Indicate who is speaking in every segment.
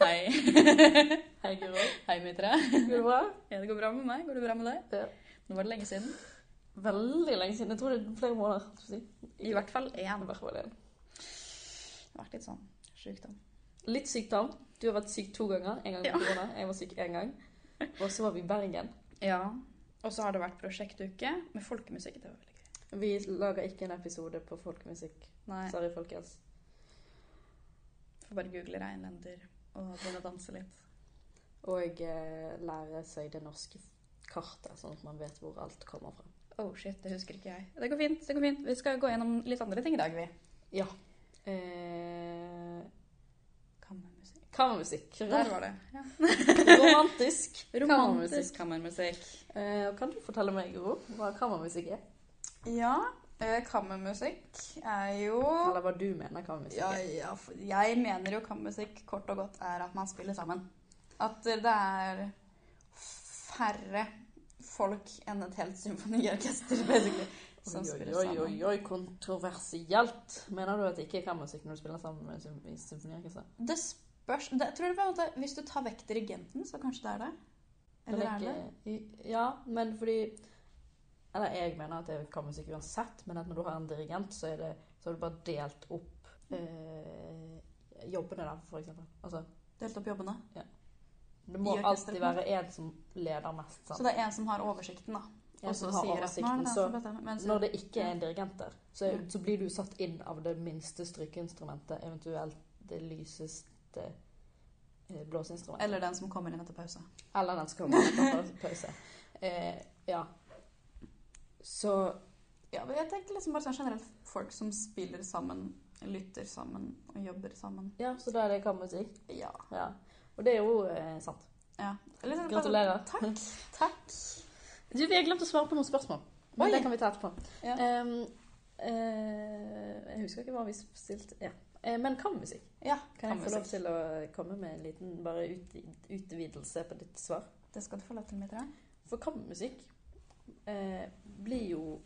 Speaker 1: Hei.
Speaker 2: Hei, Guro.
Speaker 1: Hei, Mitra.
Speaker 2: Går det bra?
Speaker 1: Ja, det går bra med meg. Går det bra med deg?
Speaker 2: Ja.
Speaker 1: Nå var det lenge siden.
Speaker 2: Veldig lenge siden. Jeg tror det er flere måneder. skal jeg Si.
Speaker 1: I hvert fall én.
Speaker 2: I hvert fall en.
Speaker 1: Det har vært litt sånn sjukdom.
Speaker 2: Litt sykdom. Du har vært syk to ganger. En gang på
Speaker 1: Ja.
Speaker 2: korona, jeg var syk én gang. Og så var vi i Bergen.
Speaker 1: Ja. Og så har det vært prosjektuke med folkemusikk. Det var veldig gøy.
Speaker 2: Vi lager ikke en episode på folkemusikk.
Speaker 1: Nei,
Speaker 2: Sorry, folkens.
Speaker 1: får bare google reinlender og begynne å danse litt.
Speaker 2: Og eh, lære seg det norske kartet, sånn at man vet hvor alt kommer fra.
Speaker 1: Oh shit, det husker ikke jeg. Det går fint. det går fint. Vi skal gå gjennom litt andre ting i dag, vi.
Speaker 2: Ja. Eh,
Speaker 1: Kammermusikk.
Speaker 2: kammermusikk.
Speaker 1: Der var det. Ja.
Speaker 2: Romantisk.
Speaker 1: Romantisk kammermusikk.
Speaker 2: Eh, og kan du fortelle meg, Guro, hva kammermusikk er?
Speaker 1: Ja. eh, Kammermusikk er jo
Speaker 2: Eller hva du mener kammermusikk
Speaker 1: Ja,
Speaker 2: er?
Speaker 1: ja, for jeg mener jo kammermusikk kort og godt er at man spiller sammen. At det er færre folk enn et helt symfoniorkester, basically, som
Speaker 2: Oi,
Speaker 1: spiller
Speaker 2: oi, oi,
Speaker 1: sammen.
Speaker 2: oi, oi, kontroversielt! Mener du at det ikke er kammermusikk når du spiller sammen med sym i symfoniorkester?
Speaker 1: Det spørs det, tror du på en måte, Hvis du tar vekk dirigenten, så kanskje det er det? Eller er det?
Speaker 2: det? Ja, men fordi Eller jeg mener at det er kammermusikk uansett, men at når du har en dirigent, så er det så har du bare delt opp eh, jobbene, da, for eksempel. Altså,
Speaker 1: Delt opp jobbene.
Speaker 2: det må
Speaker 1: I orkesteret,
Speaker 2: alltid være én som leder mest,
Speaker 1: Så
Speaker 2: sant?
Speaker 1: det er en som har oversikten, da.
Speaker 2: En
Speaker 1: Og så
Speaker 2: som har
Speaker 1: sier at nå er
Speaker 2: oversikten,
Speaker 1: det den
Speaker 2: så
Speaker 1: som bestemmer. Men så-
Speaker 2: Når det ikke er en dirigent der, så,
Speaker 1: Ja.
Speaker 2: så blir du satt inn av det minste strykeinstrumentet, eventuelt det lyseste eh, blåseinstrumentet.
Speaker 1: Eller den som kommer inn etter pause.
Speaker 2: Eller den som kommer etter pause. Eh, ja. Så
Speaker 1: Ja, men jeg tenker liksom bare sånn generelt folk som spiller sammen, lytter sammen og jobber sammen.
Speaker 2: ja, så da er det kammermusikk.
Speaker 1: Ja.
Speaker 2: Ja. Og det er jo eh, sant.
Speaker 1: Ja. Eller sånn-
Speaker 2: Gratulerer.
Speaker 1: Takk. Takk.
Speaker 2: Du, vi har glemt å svare på noen spørsmål. Men
Speaker 1: Oi.
Speaker 2: det kan vi ta etterpå.
Speaker 1: Ja.
Speaker 2: Em, eh, jeg husker ikke hva vi stilte ja. Eh, Men kammermusikk.
Speaker 1: Ja,
Speaker 2: Kan jeg få lov
Speaker 1: kammermusikk.
Speaker 2: til å komme med en liten bare ut, utvidelse på ditt svar?
Speaker 1: Det skal du få lov til, Mitra.
Speaker 2: For kammermusikk eh, blir jo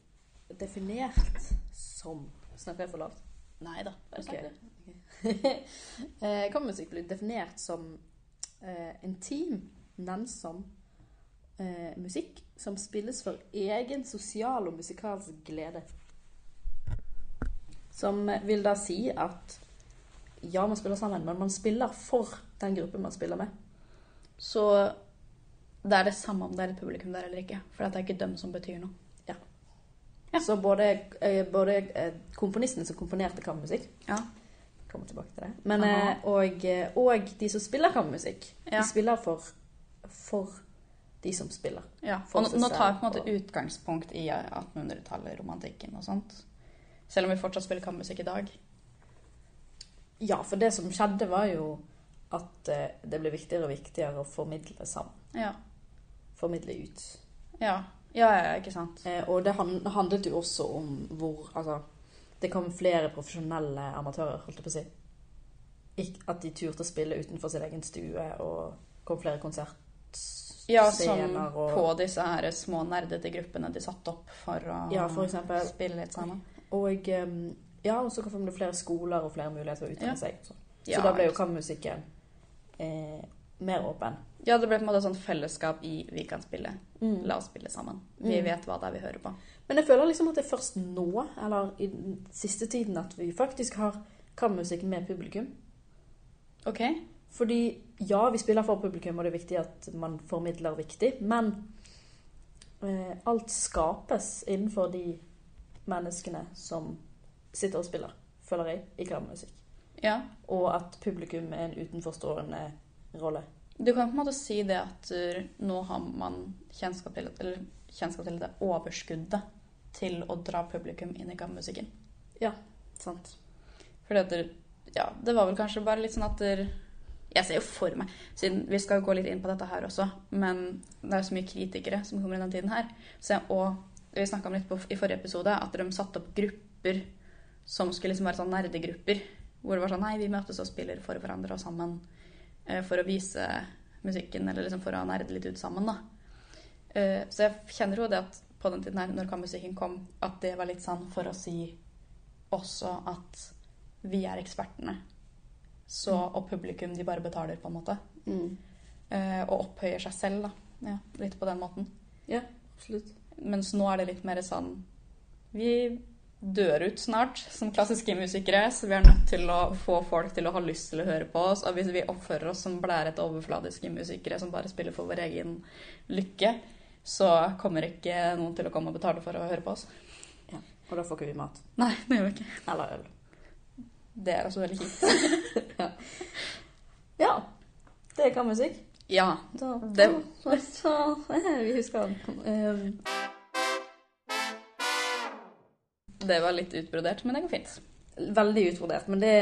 Speaker 2: definert som Snakker jeg for lavt?
Speaker 1: Nei da. Bare
Speaker 2: Ok.
Speaker 1: snakk, du.
Speaker 2: eh, kammermusikk blir definert som eh, intim, nennsom eh, musikk som spilles for egen sosial og musikalsk glede. Som vil da si at ja, man spiller sammen, men man spiller for den gruppen man spiller med.
Speaker 1: Så det er det samme om det er et publikum der eller ikke. For at det er ikke dem som betyr noe. Ja.
Speaker 2: Så både, eh, både eh, komponistene som komponerte kammermusikk
Speaker 1: Ja.
Speaker 2: Kommer tilbake til det. Men,
Speaker 1: Aha.
Speaker 2: eh, og, eh, og de som spiller kammermusikk,
Speaker 1: Ja.
Speaker 2: de spiller for, for de som spiller.
Speaker 1: ja.
Speaker 2: For
Speaker 1: Og nå,
Speaker 2: seg
Speaker 1: nå tar vi
Speaker 2: selv
Speaker 1: på en måte
Speaker 2: og-
Speaker 1: utgangspunkt i 1800-tallet, romantikken og sånt. Selv om vi fortsatt spiller kammermusikk i dag.
Speaker 2: Ja, for det som skjedde var jo at eh, det ble viktigere og viktigere å formidle sammen.
Speaker 1: Ja.
Speaker 2: Formidle ut.
Speaker 1: Ja, ja, ja ikke sant.
Speaker 2: Eh, og det han- handlet jo også om hvor Altså, det kom flere profesjonelle amatører, holdt jeg på å si. Ikk- at de turte å spille utenfor sin egen stue, og kom flere konsertscener
Speaker 1: Ja, som
Speaker 2: og
Speaker 1: på disse her små nerdete gruppene de satte opp for å
Speaker 2: Ja, for eksempel.
Speaker 1: spille litt sammen.
Speaker 2: Og ehm, ja, og så kom det flere skoler og flere muligheter å
Speaker 1: Ja.
Speaker 2: utdanne seg. Så, så
Speaker 1: Ja,
Speaker 2: da ble
Speaker 1: ikke
Speaker 2: jo kammermusikken eh, mer åpen.
Speaker 1: Ja, det ble på en måte sånn fellesskap i 'vi kan spille'. La oss spille sammen. Vi
Speaker 2: Mm.
Speaker 1: vet hva det er vi hører på.
Speaker 2: Men jeg føler liksom at det er først nå, eller i den siste tiden, at vi faktisk har kammermusikk med publikum.
Speaker 1: Ok?
Speaker 2: Fordi ja, vi spiller for publikum, og det er viktig at man formidler viktig, men eh, alt skapes innenfor de menneskene som sitter og spiller, føler jeg, i kammermusikk.
Speaker 1: Ja.
Speaker 2: Og at publikum er en utenforstående rolle.
Speaker 1: Du kan på en måte si det at uh, nå har man kjennskap til, eller, kjennskap til det overskuddet til å dra publikum inn i gammelmusikken.
Speaker 2: Sant?
Speaker 1: Fordi at det- Ja, det var vel kanskje bare litt sånn at det- Jeg ser jo for meg siden Vi skal jo gå litt inn på dette her også, men det er jo så mye kritikere som kommer i den tiden her. Så jeg, og vi snakka om litt på, i forrige episode at de satte opp grupper som skulle liksom være sånn nerdegrupper. Hvor det var sånn Nei, vi møtes og spiller for hverandre og sammen. eh, For å vise musikken, eller liksom for å nerde litt ut sammen, da. Eh, Så jeg kjenner jo det at på den tiden her, når kammermusikken kom, at det var litt sånn for å si også at vi er ekspertene. så, og publikum de bare betaler, på en måte.
Speaker 2: Mm.
Speaker 1: Eh, og opphøyer seg selv, da. Ja, litt på den måten.
Speaker 2: Absolutt.
Speaker 1: Mens nå er det litt mer sånn Vi dør ut snart som klassiske musikere, så vi er nødt til å få folk til å ha lyst til å høre på oss. Og hvis vi oppfører oss som blærete, overfladiske musikere som bare spiller for vår egen lykke, så kommer ikke noen til å komme og betale for å høre på oss.
Speaker 2: Og da får ikke vi mat.
Speaker 1: Nei, det gjør vi ikke.
Speaker 2: Eller øl.
Speaker 1: Det er også veldig kjipt.
Speaker 2: Ja. Det kan musikk.
Speaker 1: Ja.
Speaker 2: Da,
Speaker 1: Det-
Speaker 2: så, så, eh, vi husker den. Ehm,
Speaker 1: Det var litt utbrodert, men det går fint.
Speaker 2: veldig utbrodert, men det,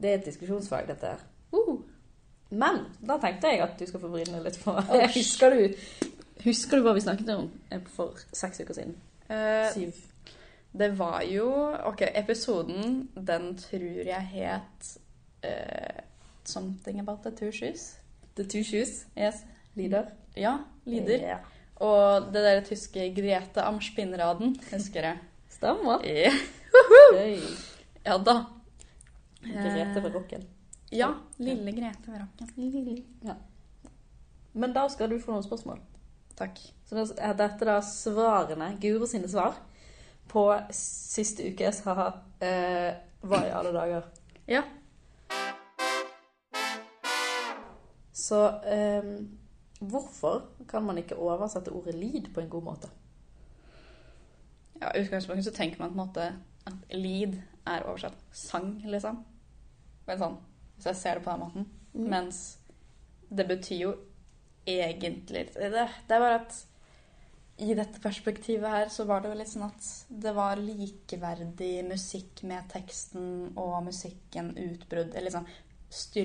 Speaker 2: det er et diskusjonsfag, dette her.
Speaker 1: Uh,
Speaker 2: Men da tenkte jeg at du skal få vri deg litt på
Speaker 1: Åh,
Speaker 2: Husker du, husker du hva vi snakket om eh, for seks uker siden?
Speaker 1: eh,
Speaker 2: Syv.
Speaker 1: Det var jo Ok, episoden, den tror jeg het eh, Something about the two shoes.
Speaker 2: The Two Shoes.
Speaker 1: Yes.
Speaker 2: Lider.
Speaker 1: Ja, lider.
Speaker 2: Ja.
Speaker 1: Og det der tyske Grete am Spinnraden, husker jeg.
Speaker 2: Stemmer.
Speaker 1: Ja,
Speaker 2: Gøy.
Speaker 1: ja da.
Speaker 2: Grete ved
Speaker 1: Eh,
Speaker 2: rocken.
Speaker 1: Ja. Lille Grete ved rocken.
Speaker 2: Ja. Men da skal du få noen spørsmål.
Speaker 1: Takk.
Speaker 2: Så da er dette da svarene, Guro sine svar, på siste ukes haha eh, hva i alle dager.
Speaker 1: Ja.
Speaker 2: Så eh, hvorfor kan man ikke oversette ordet lid på en god måte?
Speaker 1: Ja, I utgangspunktet så tenker man på en måte at lid er oversatt sang, liksom. Men sånn, Hvis jeg ser det på den måten.
Speaker 2: Mm.
Speaker 1: Mens det betyr jo egentlig Det, det er bare at i dette perspektivet her så var det jo litt sånn at det var likeverdig musikk med teksten og musikken utbrudd Eller liksom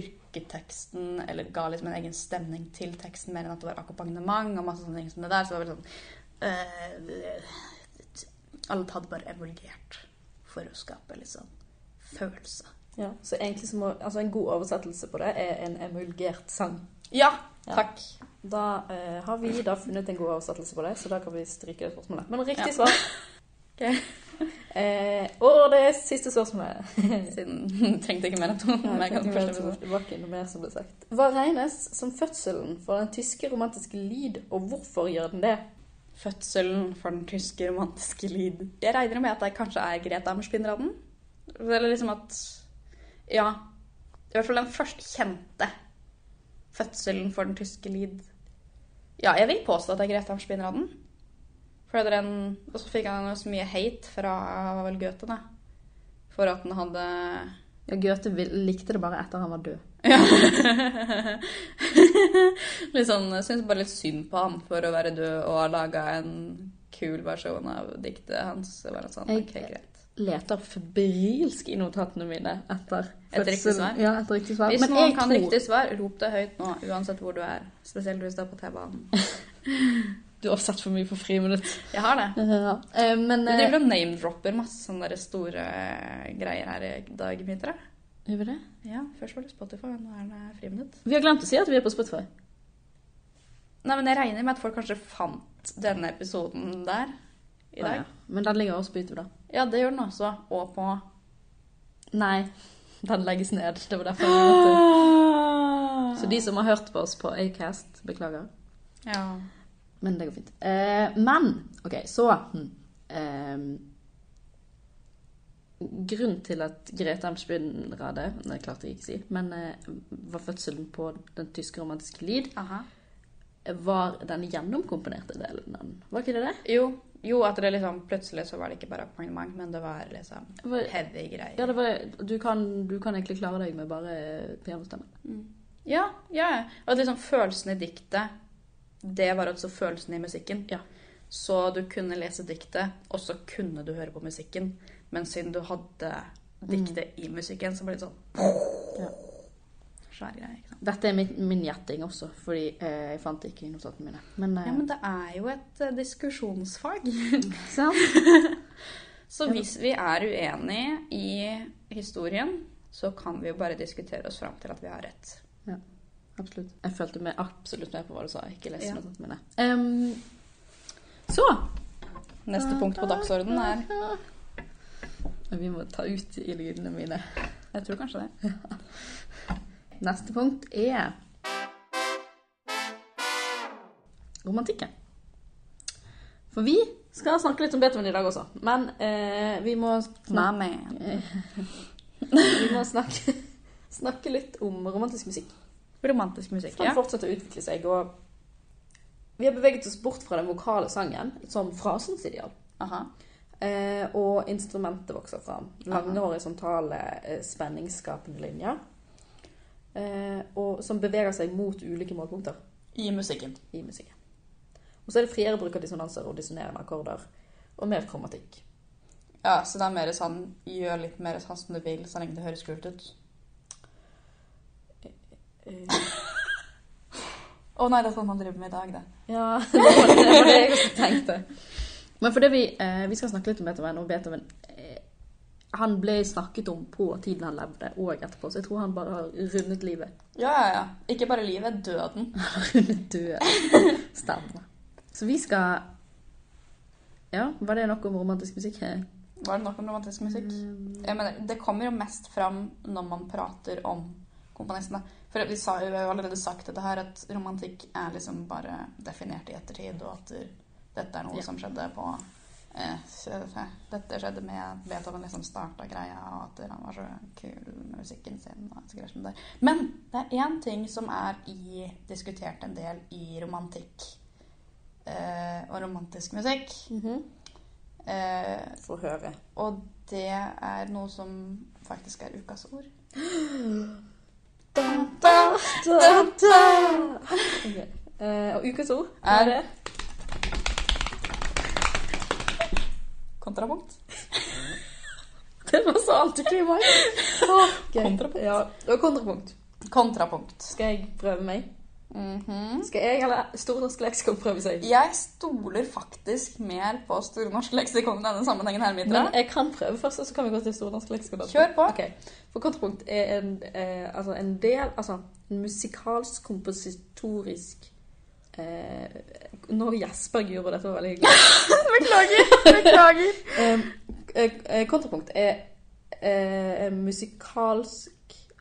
Speaker 1: styrketeksten, eller ga liksom en egen stemning til teksten mer enn at det var akkompagnement og masse sånne ting som det der. Så det var litt sånn eh, Alt hadde bare evolvert for å skape litt sånn følelse.
Speaker 2: Ja, så egentlig så må, altså En god oversettelse på det er en emulgert sang.
Speaker 1: Ja,
Speaker 2: Ja.
Speaker 1: takk.
Speaker 2: Da eh, har vi da funnet en god oversettelse på det, så da kan vi stryke det spørsmålet. Men riktig svar.
Speaker 1: Ok.
Speaker 2: eh, og det er siste spørsmålet.
Speaker 1: Siden trengte ikke mer enn to.
Speaker 2: Nei,
Speaker 1: men jeg
Speaker 2: jeg
Speaker 1: kan
Speaker 2: tenkte
Speaker 1: forstå
Speaker 2: bare
Speaker 1: det.
Speaker 2: at det var ikke noe mer som ble sagt. Hva regnes som fødselen for den tyske romantiske lyd, og hvorfor gjør den det?
Speaker 1: Fødselen for den tyske romantiske lyd. Jeg regner med at det kanskje er Grete Ammerspindraden. Eller liksom at Ja. I hvert fall den første kjente fødselen for den tyske lyd. Ja, jeg vil påstå at det er Grete Ammerspindraden. For det er en, og så fikk han jo så mye hate fra vel Goethe, da. For at han hadde
Speaker 2: Ja, Goethe likte det bare etter han var død.
Speaker 1: Ja. litt sånn, jeg syns bare litt synd på han for å være død og ha laga en kul versjon av diktet hans. Det var litt sånn,
Speaker 2: Jeg-
Speaker 1: ok, greit.
Speaker 2: Leter febrilsk i notatene mine etter
Speaker 1: Et riktig
Speaker 2: fødselen.
Speaker 1: svar?
Speaker 2: Ja, etter riktig svar.
Speaker 1: Hvis
Speaker 2: Men
Speaker 1: noen
Speaker 2: jeg
Speaker 1: kan
Speaker 2: tror-
Speaker 1: riktig svar, rop det høyt nå, uansett hvor du er. Spesielt hvis du er på T-banen.
Speaker 2: Du har sett for mye på friminutt.
Speaker 1: Jeg har det.
Speaker 2: Ja. Eh, men
Speaker 1: Vi
Speaker 2: eh,
Speaker 1: driver og name-dropper masse sånne der store eh, greier her i dag, Mitra.
Speaker 2: Gjør vi det?
Speaker 1: Ja, først var det Spotify, nå er det friminutt.
Speaker 2: Vi har glemt å si at vi er på Spotify.
Speaker 1: Nei, men jeg regner med at folk kanskje fant denne episoden der i
Speaker 2: Ah,
Speaker 1: dag.
Speaker 2: ja. Men den ligger også på YouTube, da.
Speaker 1: Ja, det gjør den også. Og på
Speaker 2: Nei, den legges ned. Det var derfor jeg måtte. Så
Speaker 1: Så
Speaker 2: de som har hørt på oss på Acast, beklager.
Speaker 1: Ja.
Speaker 2: Men det går fint. Eh, men OK, så hm, ehm, Grunnen til at Grete Amtsbyndrade Det klarte jeg ikke å si. Men eh, var fødselen på den tyske romantiske lyd,
Speaker 1: Aha.
Speaker 2: var den gjennomkomponerte delen av den. Var ikke det det?
Speaker 1: Jo, jo, at det liksom plutselig så var det ikke bare akkompagnement, men det var liksom
Speaker 2: Var,
Speaker 1: heavy greier.
Speaker 2: ja, det var, du, kan, du kan egentlig klare deg med bare eh, pianostemme.
Speaker 1: Mm. Ja, ja, ja. Og at liksom følelsen i diktet, det var også følelsen i musikken.
Speaker 2: Ja.
Speaker 1: Så du kunne lese diktet, og så kunne du høre på musikken. Men siden du hadde diktet i musikken, så ble det sånn
Speaker 2: Mm. Ja.
Speaker 1: Svær greie. ikke sant?
Speaker 2: Dette er min, min gjetting også, fordi eh, jeg fant det ikke i notatene mine. Men, eh,
Speaker 1: Ja, men det er jo et eh, diskusjonsfag.
Speaker 2: sant?
Speaker 1: Så hvis vi er uenige i historien, så kan vi jo bare diskutere oss fram til at vi har rett.
Speaker 2: Absolutt. Jeg følte meg absolutt med på hva du sa. Ikke leste
Speaker 1: Ja.
Speaker 2: notatene mine. Em, så
Speaker 1: Neste punkt på dagsordenen er
Speaker 2: Vi må ta ut i lydene mine.
Speaker 1: Jeg tror kanskje det.
Speaker 2: Neste punkt er romantikken. For vi skal snakke litt om Beethoven i dag også, men eh, vi, må
Speaker 1: Nei,
Speaker 2: snakke,
Speaker 1: men
Speaker 2: vi må snakke, snakke litt om romantisk musikk.
Speaker 1: Romantisk musikk,
Speaker 2: For
Speaker 1: ja.
Speaker 2: den fortsetter å utvikle seg, og vi har beveget oss bort fra den vokale sangen som frasens ideal.
Speaker 1: Aha.
Speaker 2: Eh, og instrumentet vokser fram. Lange
Speaker 1: Aha.
Speaker 2: horisontale, eh, spenningsskapende linjer. Eh, og, som beveger seg mot ulike målpunkter
Speaker 1: I musikken.
Speaker 2: i musikken. Og så er det friere bruk av dissonanser og dissonerende akkorder. Og mer kromatikk.
Speaker 1: Ja, så det er mer sånn gjør litt mer sånn som du vil, så lenge det høres kult ut.
Speaker 2: Eh,
Speaker 1: Å nei, det er sånn man driver med i dag, det.
Speaker 2: ja, det var det, var det jeg også tenkte. Men fordi vi, eh, vi skal snakke litt om Beethoven, og Beethoven eh, han ble snakket om på tiden han levde, og etterpå. Så jeg tror han bare har rundet livet.
Speaker 1: Ja, ja, ja. Ikke bare livet, døden.
Speaker 2: død. Stemmer. Så vi skal Ja, var det noe om romantisk musikk? Eh,
Speaker 1: Var det nok om romantisk musikk?
Speaker 2: Mm.
Speaker 1: Jeg mener, det kommer jo mest fram når man prater om komponistene. For vi, sa, vi har jo allerede sagt dette her, at romantikk er liksom bare definert i ettertid, og at dette er noe
Speaker 2: Ja.
Speaker 1: som skjedde på eh, så- Dette skjedde med Beethoven liksom starta greia, og at han var så kul med musikken sin. og så greier som det. Men det er én ting som er i, diskutert en del i romantikk eh, og romantisk musikk. Eh,
Speaker 2: Få Mhm. høre.
Speaker 1: og det er noe som faktisk er ukas ord.
Speaker 2: Ok. Eh, og ukas ord
Speaker 1: Er-
Speaker 2: det?
Speaker 1: Kontrapunkt.
Speaker 2: Det var så antiklimaks! Okay.
Speaker 1: Kontrapunkt.
Speaker 2: Ja, det var kontrapunkt.
Speaker 1: Kontrapunkt.
Speaker 2: Skal jeg prøve meg?
Speaker 1: Mhm.
Speaker 2: Skal jeg eller Stornorsk leksikon prøve seg?
Speaker 1: Jeg stoler faktisk mer på Store norske leksikon i denne sammenhengen. her, Mitra.
Speaker 2: Men jeg kan prøve først, og så kan vi gå til Stornorsk leksikon. etterpå.
Speaker 1: Kjør på.
Speaker 2: Ok. For kontrapunkt er en, eh, altså en del Altså en musikalsk, kompositorisk eh, Nå gjesper jeg, Guro. Dette var veldig hyggelig.
Speaker 1: Beklager. Beklager.
Speaker 2: Eh, eh, kontrapunkt er eh, en musikalsk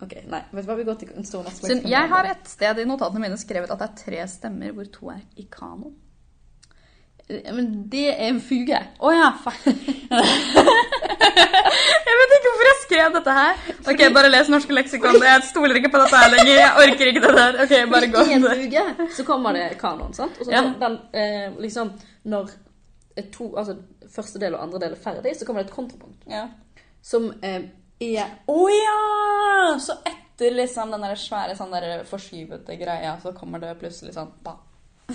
Speaker 2: OK, nei. Vet du hva, vi går til en stor norsk leksikon.
Speaker 1: jeg har et sted i notatene mine skrevet at det er tre stemmer, hvor to er i kanon.
Speaker 2: Eh, Men det er en fuge.
Speaker 1: Å ja, fuck. jeg vet ikke hvorfor jeg skrev dette her. Ok, Bare les norske leksikon. Jeg stoler ikke på dette her lenger. Jeg orker ikke det der. Ok, bare gå.
Speaker 2: I en fuge så kommer det kanon, sant? Og så
Speaker 1: Ja.
Speaker 2: når den, eh, liksom Når to, altså, første del og andre del er ferdig, så kommer det et kontrapunkt.
Speaker 1: Ja.
Speaker 2: Som eh, er
Speaker 1: Å ja! Så etter liksom den der svære sånn der forskyvete greia, så kommer det plutselig sånn ba.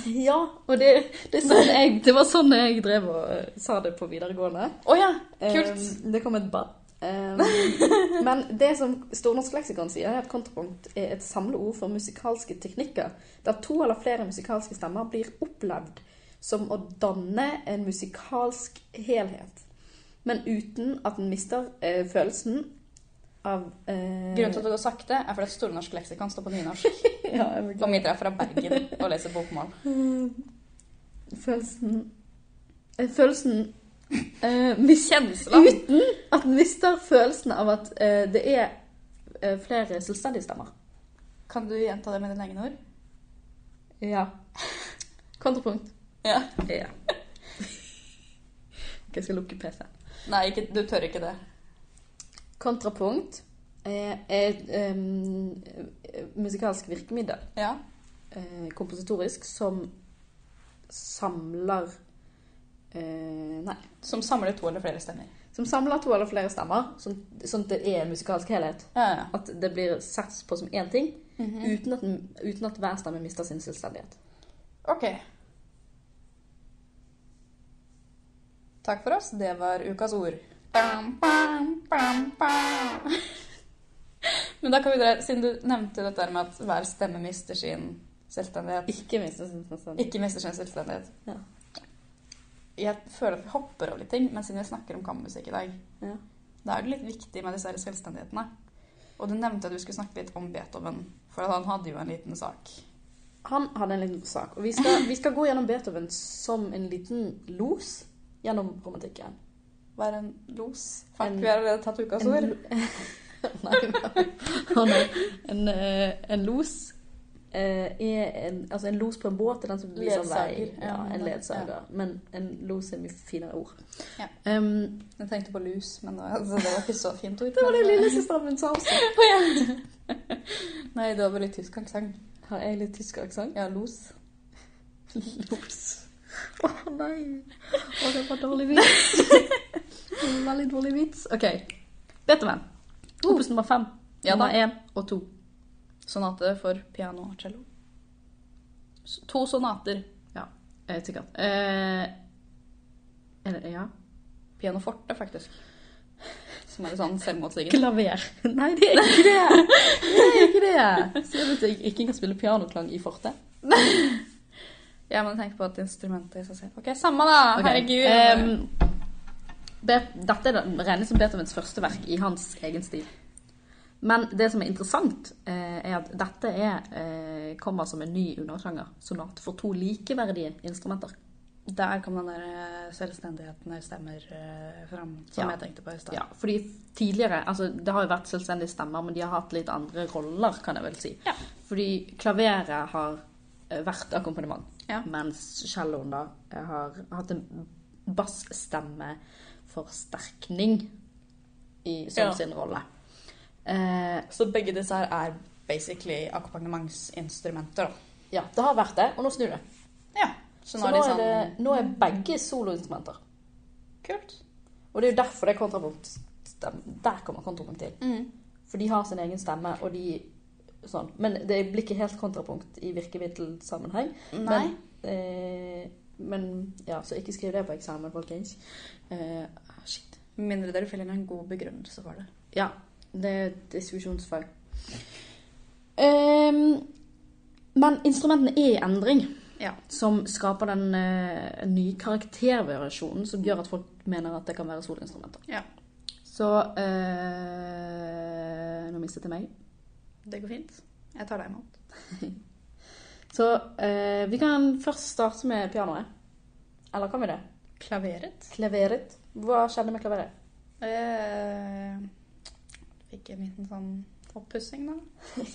Speaker 2: Ja, og det, det, er sånn jeg, det var sånn jeg drev og eh, sa det på videregående.
Speaker 1: Å ja! Kult!
Speaker 2: Eh, det kom et ba. Eh, men det som Stornorsk leksikon sier, er at kontrapunkt er et samleord for musikalske teknikker, der to eller flere musikalske stemmer blir opplevd som å danne en musikalsk helhet, men uten at den mister eh, følelsen av eh,
Speaker 1: Grunnen til at det går sakte, er fordi at Store norske leksikon står på nynorsk.
Speaker 2: ja, jeg beklager.
Speaker 1: Og Mitra er fra Bergen og leser bokmål.
Speaker 2: Følelsen eh, Følelsen eh, mis
Speaker 1: Kjensla!
Speaker 2: Uten at den mister følelsen av at eh, det er eh, flere selvstendige stemmer.
Speaker 1: Kan du gjenta det med dine egne ord?
Speaker 2: Ja. Kontrapunkt.
Speaker 1: Ja.
Speaker 2: Ja. Ok, jeg skal lukke PC.
Speaker 1: Nei, ikke, du tør ikke det.
Speaker 2: Kontrapunkt er et em, musikalsk virkemiddel,
Speaker 1: Ja.
Speaker 2: eh, kompositorisk, som samler eh, Nei.
Speaker 1: Som samler to eller flere stemmer.
Speaker 2: Som samler to eller flere stemmer, sånn sånn at det er en musikalsk helhet.
Speaker 1: Ja, ja.
Speaker 2: At det blir sett på som én ting,
Speaker 1: Mhm.
Speaker 2: uten, at, den- uten at hver stemme mister sin selvstendighet.
Speaker 1: Ok. Takk for oss. Det var ukas ord. Bam, bam, bam, bam. Men da kan vi dra, siden du nevnte dette her med at hver stemme mister sin selvstendighet
Speaker 2: Ikke mister sin selvstendighet.
Speaker 1: Ikke mister sin selvstendighet.
Speaker 2: Ja.
Speaker 1: Jeg føler at vi hopper over litt ting, men siden vi snakker om kammermusikk i dag,
Speaker 2: Ja.
Speaker 1: da er det litt viktig med disse her selvstendighetene. Og du nevnte at du skulle snakke litt om Beethoven, for at han hadde jo en liten sak.
Speaker 2: Han hadde en liten sak, og vi skal, vi skal gå gjennom Beethoven som en liten los gjennom romantikken.
Speaker 1: Hva er en los? Fuck,
Speaker 2: En-
Speaker 1: vi har allerede tatt ukas
Speaker 2: En,
Speaker 1: ord.
Speaker 2: lo- Nei, men- Å, nei. En, eh, en los eh, er en, altså en los på en båt er den som viser vei.
Speaker 1: Ledsager,
Speaker 2: Ja,
Speaker 1: ja.
Speaker 2: en ledsager. Men en los er mye finere ord.
Speaker 1: Ja.
Speaker 2: Ehm,
Speaker 1: Jeg tenkte på lus, men det, altså, det var ikke så fint ord.
Speaker 2: det var det
Speaker 1: men-
Speaker 2: lillesøsteren min sa også.
Speaker 1: Å, ja. Nei, det var bare litt tysk aksent.
Speaker 2: Har jeg litt tysk aksent?
Speaker 1: Ja, los.
Speaker 2: Los. Å nei. Å, det var dårlig vits. Det var Veldig dårlig vits. OK. Beethoven. Opus nummer fem.
Speaker 1: Ja,
Speaker 2: nummer
Speaker 1: da.
Speaker 2: én og to.
Speaker 1: Sonate for piano og cello. S- To sonater.
Speaker 2: Eh, sikkert. Eh, er det, ja.
Speaker 1: Pianoforte, faktisk. Som er litt sånn selvmotsigende.
Speaker 2: Klaver. Nei, det er ikke det. Det er ikke det. Sier du at jeg ikke kan spille pianoklang i forte?
Speaker 1: Ja, men tenk på at instrumentet i seg selv OK, samme da!
Speaker 2: Ok.
Speaker 1: Ah, Herregud.
Speaker 2: Ehm, Be- dette er da- regnes som Beethovens første verk i hans egen stil. Men det som er interessant, eh, er at dette er, eh, kommer som en ny undersjanger. Sonat for to likeverdige instrumenter.
Speaker 1: Der kom den der eh, selvstendigheten her stemmer eh, fram, som
Speaker 2: Ja.
Speaker 1: jeg tenkte på i stad.
Speaker 2: Ja, fordi tidligere, altså Det har jo vært selvstendige stemmer, men de har hatt litt andre roller, kan jeg vel si.
Speaker 1: Ja.
Speaker 2: Fordi klaveret har eh, vært akkompagnement.
Speaker 1: Ja.
Speaker 2: Mens celloen da har hatt en basstemmeforsterkning i som
Speaker 1: Ja.
Speaker 2: sin rolle. Eh,
Speaker 1: Så begge disse her er basically akkompagnementsinstrumenter, da.
Speaker 2: ja, det har vært det, og nå snur det.
Speaker 1: Ja.
Speaker 2: Så,
Speaker 1: Så
Speaker 2: nå,
Speaker 1: nå er de
Speaker 2: er det,
Speaker 1: sånn
Speaker 2: nå er begge soloinstrumenter.
Speaker 1: Kult.
Speaker 2: Og det er jo derfor det er kontrapunkt. stem- Der kommer kontrapunkt til.
Speaker 1: Mm.
Speaker 2: For de har sin egen stemme, og de sånn. Men det blir ikke helt kontrapunkt i virkemiddelsammenheng.
Speaker 1: Nei.
Speaker 2: Men, eh, men ja, så ikke skriv det på eksamen, folkens. Eh, ah, shit.
Speaker 1: Med mindre dere finner en god begrunnelse for det.
Speaker 2: Ja, det er et diskusjonsfag. Ehm, men instrumentene er i endring,
Speaker 1: Ja.
Speaker 2: som skaper den eh, nye karaktervariasjonen som gjør at folk mener at det kan være solinstrumenter.
Speaker 1: Ja.
Speaker 2: Så eh, Nå mistet jeg meg.
Speaker 1: Det går fint. Jeg tar deg imot.
Speaker 2: Så eh, vi kan først starte med pianoet. Eller kan vi det?
Speaker 1: Klaveret?
Speaker 2: Klaveret. Hva skjedde med klaveret?
Speaker 1: Eh, fikk en liten sånn oppussing, da.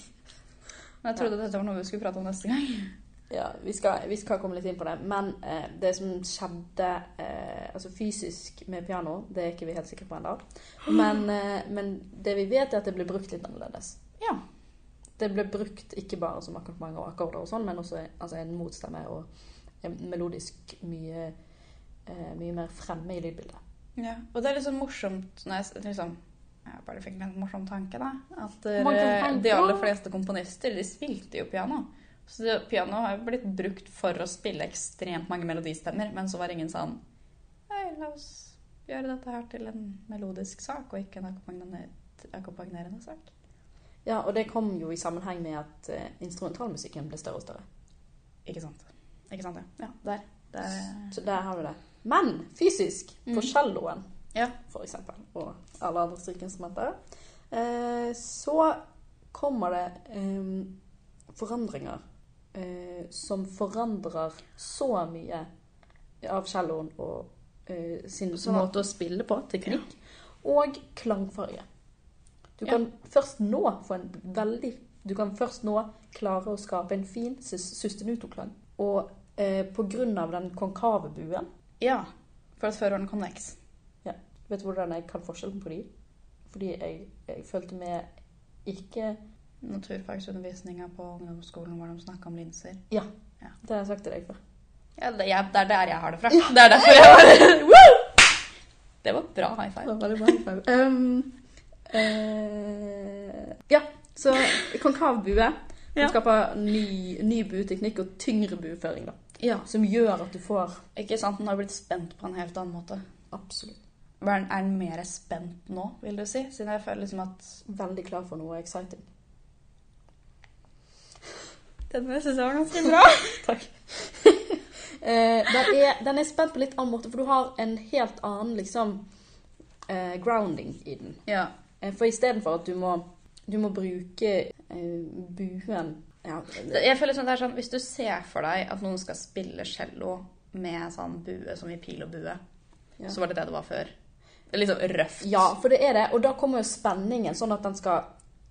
Speaker 1: Men jeg trodde dette var noe vi skulle prate om neste gang.
Speaker 2: Ja, vi skal, vi skal komme litt inn på det. Men eh, det som skjedde eh, altså fysisk med piano, det er ikke vi helt sikre på ennå. Men, eh, men det vi vet, er at det ble brukt litt annerledes.
Speaker 1: Ja.
Speaker 2: Det ble brukt ikke bare som akkompagnement og akkorder og sånn, men også altså, en motstemme og en melodisk mye, eh, mye mer fremme i lydbildet.
Speaker 1: Ja, og det er litt sånn morsomt når jeg s- liksom jeg bare fikk en morsom tanke, da. At eh,
Speaker 2: Morsom tanke.
Speaker 1: de aller fleste komponister, de spilte jo piano. Så det, piano har jo blitt brukt for å spille ekstremt mange melodistemmer, men så var ingen sånn Hei, la oss gjøre dette her til en melodisk sak, og ikke en akkompagnerende, akkompagnerende sak.
Speaker 2: Ja, og det kom jo i sammenheng med at eh, instrumentalmusikken ble større og større.
Speaker 1: Ikke sant? Ikke sant, ja. Ja, der. Det-
Speaker 2: Så der har du det. Men fysisk, på
Speaker 1: Mm.
Speaker 2: celloen
Speaker 1: Ja.
Speaker 2: for eksempel, og alle andre strykeinstrumenter, eh, så kommer det eh, forandringer eh, som forandrer så mye av celloen og eh, sin
Speaker 1: Sånn at-
Speaker 2: måte å spille på, teknikk, og klangfarge. Du kan først nå få en veldig Du kan først nå klare å skape en fin sus- sustenutoklang. Og eh, på grunn av den konkave buen
Speaker 1: ja. For at før var den konveks.
Speaker 2: Vet du hvordan jeg kan forskjellen på de? Fordi jeg, jeg følte meg ikke
Speaker 1: Naturfagsundervisninga på ungdomsskolen hvor de snakka om linser.
Speaker 2: Det har jeg sagt til deg før.
Speaker 1: Ja, det, jeg, det er der jeg har det fra. Det er derfor jeg har det. Woo! Det var bra high five.
Speaker 2: veldig bra. um, eh, ja, så konkav bue. Som
Speaker 1: Ja.
Speaker 2: skaper ny, ny bueteknikk og tyngre bueføring. da.
Speaker 1: Ja.
Speaker 2: Som gjør at du får
Speaker 1: Ikke sant, den har blitt spent på en helt annen måte.
Speaker 2: absolutt
Speaker 1: Er den, er den mer spent nå, vil du si? Siden jeg føler liksom at
Speaker 2: veldig klar for noe exciting.
Speaker 1: Den syns jeg var ganske bra.
Speaker 2: Takk. Eh, den, er, den er spent på litt annen måte, for du har en helt annen liksom eh, grounding i den.
Speaker 1: Ja.
Speaker 2: Eh, For istedenfor at du må, du må bruke eh, buen ja,
Speaker 1: Det- Jeg føler liksom at det er sånn, Hvis du ser for deg at noen skal spille cello med sånn bue som i pil og bue,
Speaker 2: Ja.
Speaker 1: så var det det det var før. Liksom røft.
Speaker 2: Ja, for det er det. Og da kommer jo spenningen, sånn at den skal,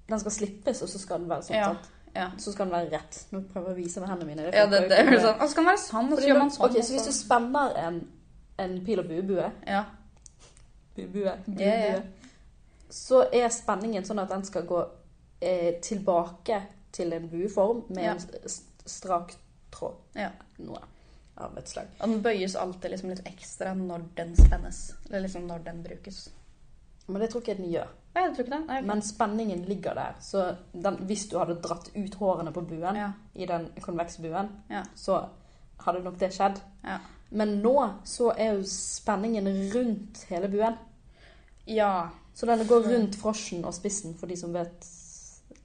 Speaker 2: den skal slippes, og så skal den være sånn.
Speaker 1: Ja,
Speaker 2: sant?
Speaker 1: ja.
Speaker 2: Så skal den være rett. Nå prøver jeg å vise med hendene mine.
Speaker 1: Ja, det, det er
Speaker 2: funker jo
Speaker 1: jo
Speaker 2: ikke.
Speaker 1: sånn. Og så kan man være sann, og
Speaker 2: Fordi
Speaker 1: så gjør
Speaker 2: da-
Speaker 1: man sånn.
Speaker 2: ok, så hvis du spenner en, en pil og buebue
Speaker 1: Ja.
Speaker 2: Buebue. buebue
Speaker 1: Ja, ja.
Speaker 2: Så er spenningen sånn at den skal gå eh, tilbake til en bueform med
Speaker 1: Ja.
Speaker 2: en s- strak tråd.
Speaker 1: Ja.
Speaker 2: Noe av et slag.
Speaker 1: Og den bøyes alltid liksom litt ekstra når den spennes. Eller liksom når den brukes.
Speaker 2: Men det tror ikke jeg den gjør.
Speaker 1: Nei, jeg tror ikke det. Nei, ok.
Speaker 2: Men spenningen ligger der. Så den, hvis du hadde dratt ut hårene på buen,
Speaker 1: ja.
Speaker 2: i den konveksbuen,
Speaker 1: Ja.
Speaker 2: så hadde nok det skjedd.
Speaker 1: Ja.
Speaker 2: Men nå så er jo spenningen rundt hele buen.
Speaker 1: ja.
Speaker 2: Så den går rundt frosjen og spissen, for de som vet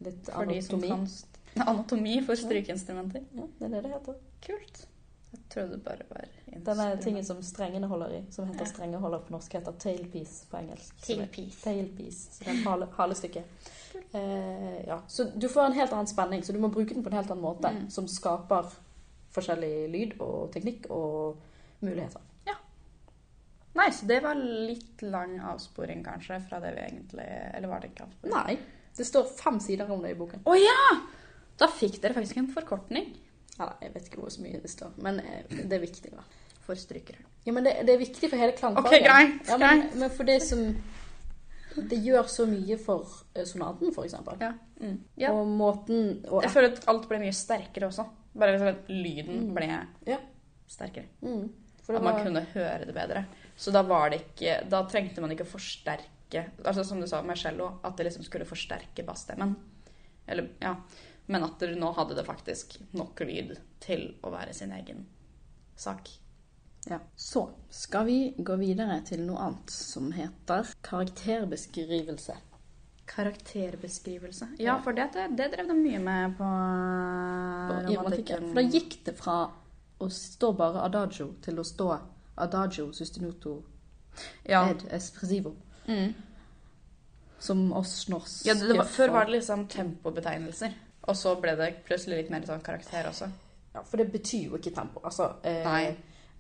Speaker 2: litt
Speaker 1: For de som
Speaker 2: anatomi.
Speaker 1: kan st- Anatomi for strykeinstrumenter.
Speaker 2: Ja, det er det det heter.
Speaker 1: Kult. Jeg trodde det bare var
Speaker 2: Denne
Speaker 1: instrument.
Speaker 2: tingen som strengene holder i, som heter
Speaker 1: Ja.
Speaker 2: strengeholder på norsk, heter tailpiece på engelsk. Så det-
Speaker 1: Tailpiece.
Speaker 2: Tailpiece. Så det er en hale, halestykke. Eh, ja. Så du får en helt annen spenning, så du må bruke den på en helt annen måte.
Speaker 1: Mm.
Speaker 2: Som skaper forskjellig lyd og teknikk og muligheter.
Speaker 1: Nei, så det var litt lang avsporing, kanskje, fra det vi egentlig Eller var det ikke avsporing?
Speaker 2: Nei. Det står fem sider om det i boken.
Speaker 1: Å ja! Da fikk dere faktisk en forkortning
Speaker 2: Eller, jeg vet ikke hvor så mye det står, men eh, det er viktig. Da.
Speaker 1: for strykere.
Speaker 2: Ja, men det, det er viktig for hele klangfaget.
Speaker 1: Ok, greit,
Speaker 2: Ja, men, men for det som Det gjør så mye for eh, sonaten, for eksempel.
Speaker 1: Ja. Mm. ja.
Speaker 2: Og måten og
Speaker 1: Jeg føler at alt ble mye sterkere også. Bare liksom at lyden
Speaker 2: Mm.
Speaker 1: ble
Speaker 2: Ja.
Speaker 1: sterkere.
Speaker 2: mm, for det
Speaker 1: At man
Speaker 2: var-
Speaker 1: kunne høre det bedre. Så da var det ikke Da trengte man ikke å forsterke Altså som du sa med cello, at det liksom skulle forsterke bassstemmen. Eller, ja. Men at dere nå hadde det faktisk nok lyd til å være sin egen sak.
Speaker 2: Ja. Så skal vi gå videre til noe annet som heter karakterbeskrivelse.
Speaker 1: Karakterbeskrivelse. Ja, for det, det, det drev de mye med på eh,
Speaker 2: Og i romantikken. For da gikk det fra å stå bare adagio til å stå adagio sustinuto
Speaker 1: Ja.
Speaker 2: ed espressivo.
Speaker 1: Mm.
Speaker 2: Som oss norske
Speaker 1: Ja, det, det var, før var det liksom tempobetegnelser. Og så ble det plutselig litt mer sånn karakter også.
Speaker 2: Ja, for det betyr jo ikke tempo. Altså, eh,
Speaker 1: Nei.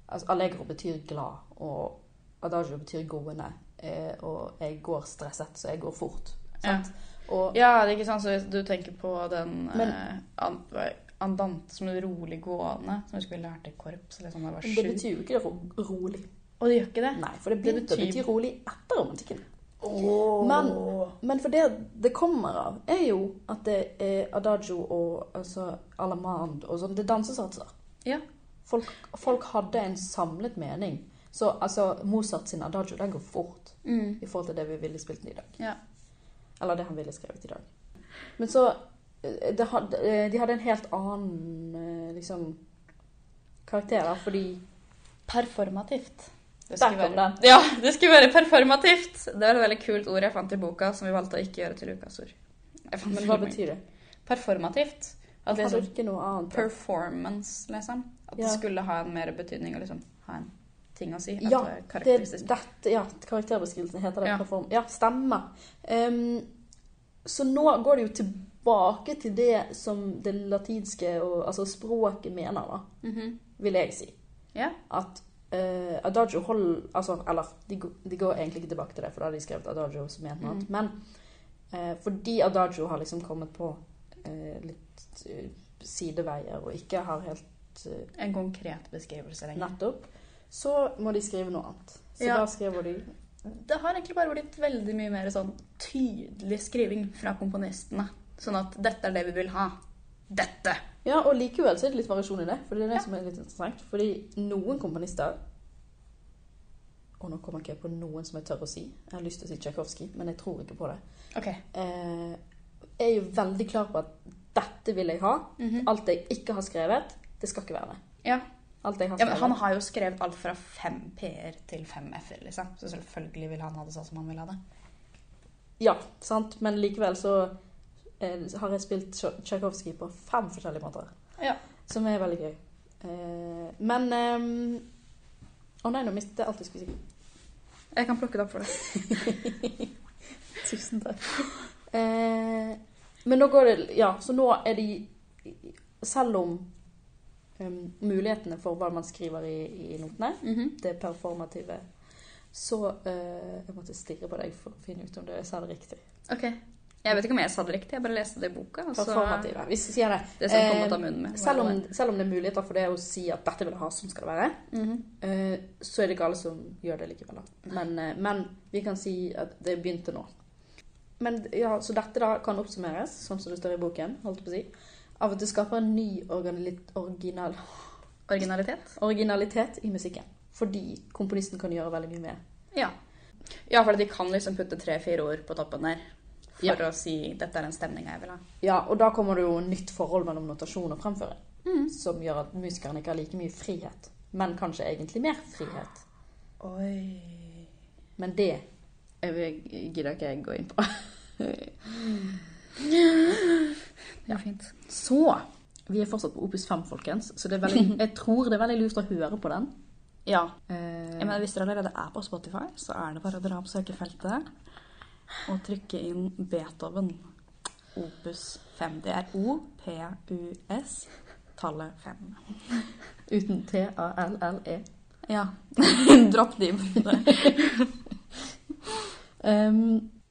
Speaker 2: altså Allegro betyr glad, og adagio betyr gående. Eh, og jeg går stresset, så jeg går fort.
Speaker 1: Ja.
Speaker 2: Sant? Og
Speaker 1: ja, det er ikke sant, så hvis du tenker på den
Speaker 2: Men-
Speaker 1: eh, an- hva- andante som er rolig gående, som jeg husker vi lærte i korps, eller sånn da jeg var
Speaker 2: det
Speaker 1: sju.
Speaker 2: betyr jo ikke det for rolig.
Speaker 1: Og det gjør ikke det.
Speaker 2: Nei, for det begynte å
Speaker 1: betyr-
Speaker 2: bety rolig etter romantikken. Men, men for det det kommer av, er jo at det er adagio og altså, alamand og sånn. Det er dansesatser.
Speaker 1: Ja.
Speaker 2: Folk, folk hadde en samlet mening. Så altså, Mozart sin adagio, den går fort.
Speaker 1: Mm.
Speaker 2: i forhold til det vi ville spilt den i dag.
Speaker 1: Ja.
Speaker 2: Eller det han ville skrevet i dag. Men så eh, det hadde, eh, De hadde en helt annen eh, liksom karakter, da, fordi
Speaker 1: Performativt. Det
Speaker 2: Der
Speaker 1: skulle
Speaker 2: kom
Speaker 1: være- Ja, det skulle være performativt! Det var et veldig kult ord jeg fant i boka, som vi valgte å ikke gjøre til ukas ord. Jeg fant
Speaker 2: Men
Speaker 1: veldig
Speaker 2: hva
Speaker 1: mange.
Speaker 2: betyr det?
Speaker 1: Performativt. At
Speaker 2: Hadde
Speaker 1: liksom
Speaker 2: ikke noe annet
Speaker 1: performance, liksom. At
Speaker 2: Ja.
Speaker 1: det skulle ha en mer betydning og liksom ha en ting å si. At
Speaker 2: Ja,
Speaker 1: det er
Speaker 2: det,
Speaker 1: karakteristisk.
Speaker 2: dette, ja, karakterbeskrivelsen heter det.
Speaker 1: Ja.
Speaker 2: perform- Ja, stemmer. Ehm, så nå går det jo tilbake til det som det latinske og altså språket mener, da,
Speaker 1: Mhm.
Speaker 2: vil jeg si.
Speaker 1: Ja.
Speaker 2: at eh, Adagio hold, altså, Eller de, går- de går egentlig ikke tilbake til det, for da hadde de skrevet Adagio som mente noe annet.
Speaker 1: Mm.
Speaker 2: Men eh, fordi Adagio har liksom kommet på eh, litt eh, sideveier og ikke har helt eh,
Speaker 1: En konkret beskrivelse lenger.
Speaker 2: Nettopp. Så må de skrive noe annet. Så
Speaker 1: Ja.
Speaker 2: da skriver de
Speaker 1: Det har egentlig bare blitt veldig mye mer sånn tydelig skriving fra komponistene. Sånn at dette er det vi vil ha. Dette!
Speaker 2: Ja, og likevel så er det litt variasjon i det, for det er det
Speaker 1: Ja.
Speaker 2: som er litt interessant. Fordi noen komponister Og nå kommer ikke jeg på noen som jeg tør å si. Jeg har lyst til å si Tsjajkovskij, men jeg tror ikke på det.
Speaker 1: Ok.
Speaker 2: eh, er jo veldig klar på at dette vil jeg ha.
Speaker 1: Mhm.
Speaker 2: Alt jeg ikke har skrevet, det skal ikke være med.
Speaker 1: Ja.
Speaker 2: Alt jeg har
Speaker 1: ja, men
Speaker 2: skrevet.
Speaker 1: Han har jo skrevet alt fra fem p-er til fem f-er, liksom. Så selvfølgelig vil han ha det sånn som han vil ha det.
Speaker 2: Ja, sant? Men likevel så eh, har jeg spilt Tsj- Tsjajkovskij på fem forskjellige måter.
Speaker 1: Ja.
Speaker 2: Som er veldig gøy. Eh, men ehm, Å nei, nå mistet jeg alt jeg skulle si.
Speaker 1: Jeg kan plukke det opp for deg.
Speaker 2: Tusen takk. Eh, men nå går det Ja, så nå er de Selv om ehm,
Speaker 1: Mhm.
Speaker 2: eh, mulighetene for hva man skriver i, i notene det performative Så eh, jeg måtte stirre på deg for å finne ut om det jeg sa det riktig.
Speaker 1: Ok. Jeg vet ikke om jeg sa det riktig, jeg bare leste det i boka. og så-
Speaker 2: Performative. Vi sier det.
Speaker 1: det som kom
Speaker 2: Eh,
Speaker 1: ut av munnen min.
Speaker 2: Selv om, selv om det er muligheter for det å si at dette vil jeg ha, sånn skal det være,
Speaker 1: Mhm.
Speaker 2: eh, så er det ikke alle som gjør det likevel. Da. Men, eh, men vi kan si at det begynte nå. Men ja, Så dette da kan oppsummeres, sånn som det står i boken, holdt jeg på å si, av at det skaper en ny organi- original,
Speaker 1: Originalitet?
Speaker 2: originalitet i musikken. Fordi komponisten kan gjøre veldig mye mer.
Speaker 1: Ja. Ja, for de kan liksom putte tre-fire ord på toppen der for
Speaker 2: Ja.
Speaker 1: å si 'dette er den stemninga jeg vil ha'.
Speaker 2: Ja, og da kommer det jo nytt forhold mellom notasjon og fremføring,
Speaker 1: Mhm.
Speaker 2: som gjør at musikeren ikke har like mye frihet. Men kanskje egentlig mer frihet.
Speaker 1: Oi.
Speaker 2: Men det jeg vil- gidder ikke jeg gå inn på.
Speaker 1: Det er fint.
Speaker 2: Så Vi er fortsatt på Opus 5, folkens, så det er veldig, jeg tror det er veldig lurt å høre på den.
Speaker 1: Ja.
Speaker 2: Eh,
Speaker 1: Jeg mener, hvis dere allerede er på Spotify, så er det bare å dra opp søkefeltet og trykke inn Beethoven. Opus 5. Det er O-P-U-S, tallet 5.
Speaker 2: uten T-A-L-L-E.
Speaker 1: Ja. Dropp de ordene.
Speaker 2: Ehm,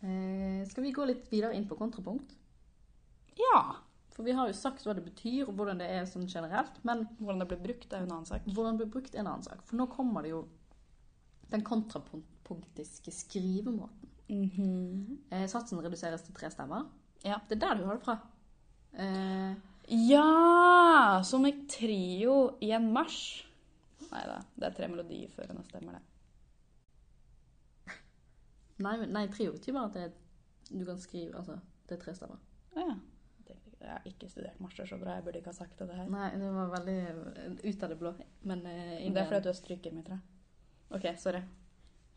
Speaker 2: eh, skal vi gå litt videre inn på kontrapunkt?
Speaker 1: Ja.
Speaker 2: For vi har jo sagt hva det betyr, og hvordan det er sånn generelt. Men
Speaker 1: Hvordan det blir brukt, er jo en annen sak.
Speaker 2: hvordan det blir brukt, er en annen sak. For nå kommer det jo den kontrapunktiske skrivemåten. Eh, satsen reduseres til tre stemmer.
Speaker 1: Ja.
Speaker 2: Det er der du har det fra. Eh,
Speaker 1: Ja! Som en trio i en marsj. Nei da, det er tre melodier før henne, stemmer det.
Speaker 2: Nei, men- nei trio betyr bare at det, er- du kan skrive Altså, det er tre stemmer.
Speaker 1: Å ja. Jeg tenkte ikke- Jeg har ikke studert marsjer så bra, jeg burde ikke ha sagt det her.
Speaker 2: Nei, det var veldig eh, ut av det blå. Men eh,
Speaker 1: Det er fordi at du har stryket mitt, tror jeg. OK, sorry.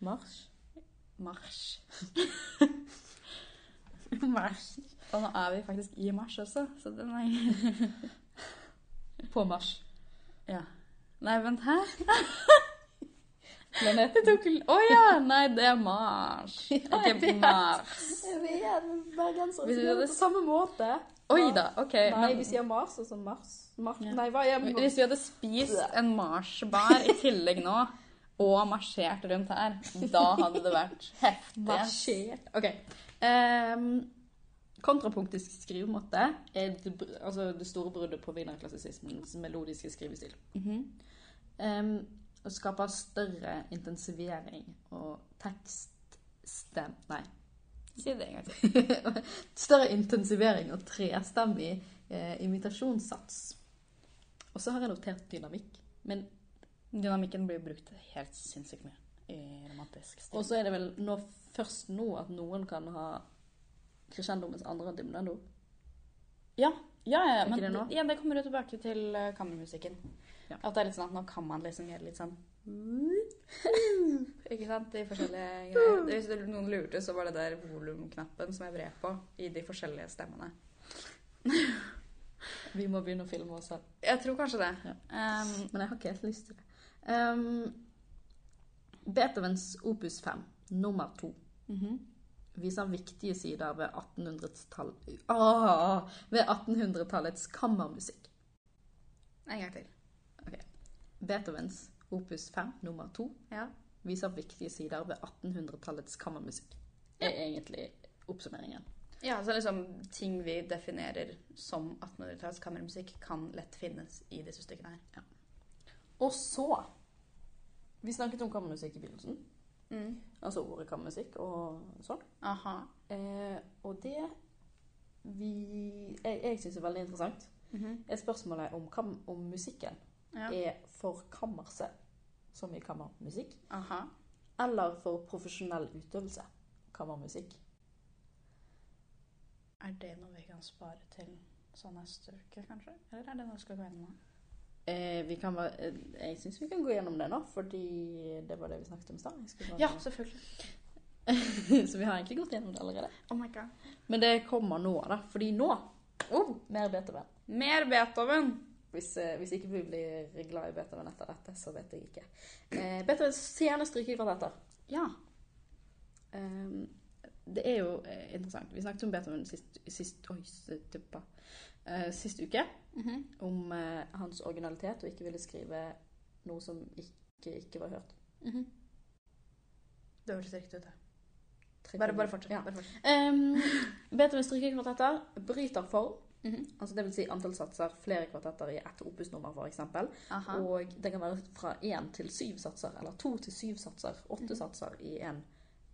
Speaker 2: Marsj?
Speaker 1: Marsj. marsj. Og nå er vi faktisk i marsj også, så den er
Speaker 2: På Mars.
Speaker 1: Ja. Nei, men hæ?
Speaker 2: Planet.
Speaker 1: Det tok Å ja! Nei, det er Mars. Ikke Mars.
Speaker 2: Jeg vet, bergensere
Speaker 1: Vi sier det på
Speaker 2: samme måte.
Speaker 1: Oi da, OK.
Speaker 2: Nei,
Speaker 1: men-
Speaker 2: vi sier Mars, altså Mars. Mars.
Speaker 1: Ja.
Speaker 2: Nei, hva er
Speaker 1: Hvis vi hadde spist en marsjbær i tillegg nå, og marsjert rundt her, da hadde det vært heftig.
Speaker 2: Marsjert. OK. Ehm, kontrapunktisk skrivemåte er det, br- altså det store bruddet på wienerklassisismens melodiske skrivestil.
Speaker 1: Mhm.
Speaker 2: Ehm, og skaper større intensivering og tekststem... Nei.
Speaker 1: Si det en gang til.
Speaker 2: Større intensivering og trestemmig eh, imitasjonssats. Og så har jeg notert dynamikk. Men,
Speaker 1: Dynamikken blir brukt helt sinnssykt mye i romantisk
Speaker 2: og
Speaker 1: stil.
Speaker 2: så er det vel nå, først nå at noen kan ha crescendo mens andre har dimnendo.
Speaker 1: Ja, ja, ja, ja,
Speaker 2: Er
Speaker 1: men
Speaker 2: ikke det
Speaker 1: det,
Speaker 2: nå?
Speaker 1: ja, det kommer jo tilbake til eh, kammermusikken.
Speaker 2: Ja.
Speaker 1: At det er litt sånn at nå kan man liksom gjøre litt sånn Ikke sant? De forskjellige greier. Hvis det- noen lurte, så var det der volumknappen som jeg vred på i de forskjellige stemmene.
Speaker 2: Vi må begynne å filme oss selv.
Speaker 1: Jeg tror kanskje det. Um,
Speaker 2: Men jeg har ikke helt lyst til det. Ehm, Beethovens opus 5, nummer 2,
Speaker 1: Mhm.
Speaker 2: viser viktige sider ved 1800-tall- Ah, ved 1800-tallets kammermusikk.
Speaker 1: En gang til.
Speaker 2: Beethovens opus 5, nummer 2,
Speaker 1: Ja.
Speaker 2: viser viktige sider ved 1800-tallets kammermusikk. Det er egentlig oppsummeringen.
Speaker 1: Ja, så liksom ting vi definerer som 1800-talls kammermusikk, kan lett finnes i disse stykkene her.
Speaker 2: Og så Vi snakket om kammermusikk i begynnelsen.
Speaker 1: Mm.
Speaker 2: Altså ordet kammermusikk og sånn.
Speaker 1: Aha.
Speaker 2: Eh, og det vi Jeg, jeg syns er veldig interessant,
Speaker 1: Mhm.
Speaker 2: er spørsmålet om, kam, om musikken
Speaker 1: Ja.
Speaker 2: er for kammerset, som i kammermusikk,
Speaker 1: Aha.
Speaker 2: eller for profesjonell utøvelse, kammermusikk.
Speaker 1: Er det noe vi kan spare til sånne stykker, kanskje? Eller er det noe vi skal gå gjennom nå?
Speaker 2: Eh, vi kan være, eh, jeg syns vi kan gå gjennom det nå, fordi det var det vi snakket om i stad. Jeg skulle bare-
Speaker 1: Ja, selvfølgelig.
Speaker 2: Så vi har egentlig gått gjennom det allerede.
Speaker 1: Oh my god.
Speaker 2: Men det kommer nå, da. Fordi nå
Speaker 1: Oh,
Speaker 2: mer Beethoven.
Speaker 1: mer Beethoven!
Speaker 2: Hvis, eh, hvis ikke vi blir glad i Beethoven etter dette, så vet jeg ikke. Eh, Beethovens seneste rykekvartetter.
Speaker 1: Ja.
Speaker 2: Ehm, det er jo eh, interessant. Vi snakket om Beethoven sist, sist, oi, s- tuppa. Eh, sist uke.
Speaker 1: Mhm.
Speaker 2: Om eh, hans originalitet og ikke ville skrive noe som ikke, ikke var hørt.
Speaker 1: Mhm. Det hørtes riktig ut. det.
Speaker 2: Trikk-
Speaker 1: Bare, bare fortsett.
Speaker 2: Ja.
Speaker 1: Bare fortsett.
Speaker 2: Ehm, Beethovens strikkekvartetter bryter form.
Speaker 1: Mhm.
Speaker 2: Altså det vil si antall satser, flere kvartetter i ett opusnummer f.eks.
Speaker 1: Aha.
Speaker 2: Og det kan være fra én til syv satser, eller to til syv satser, åtte
Speaker 1: Mhm.
Speaker 2: satser i en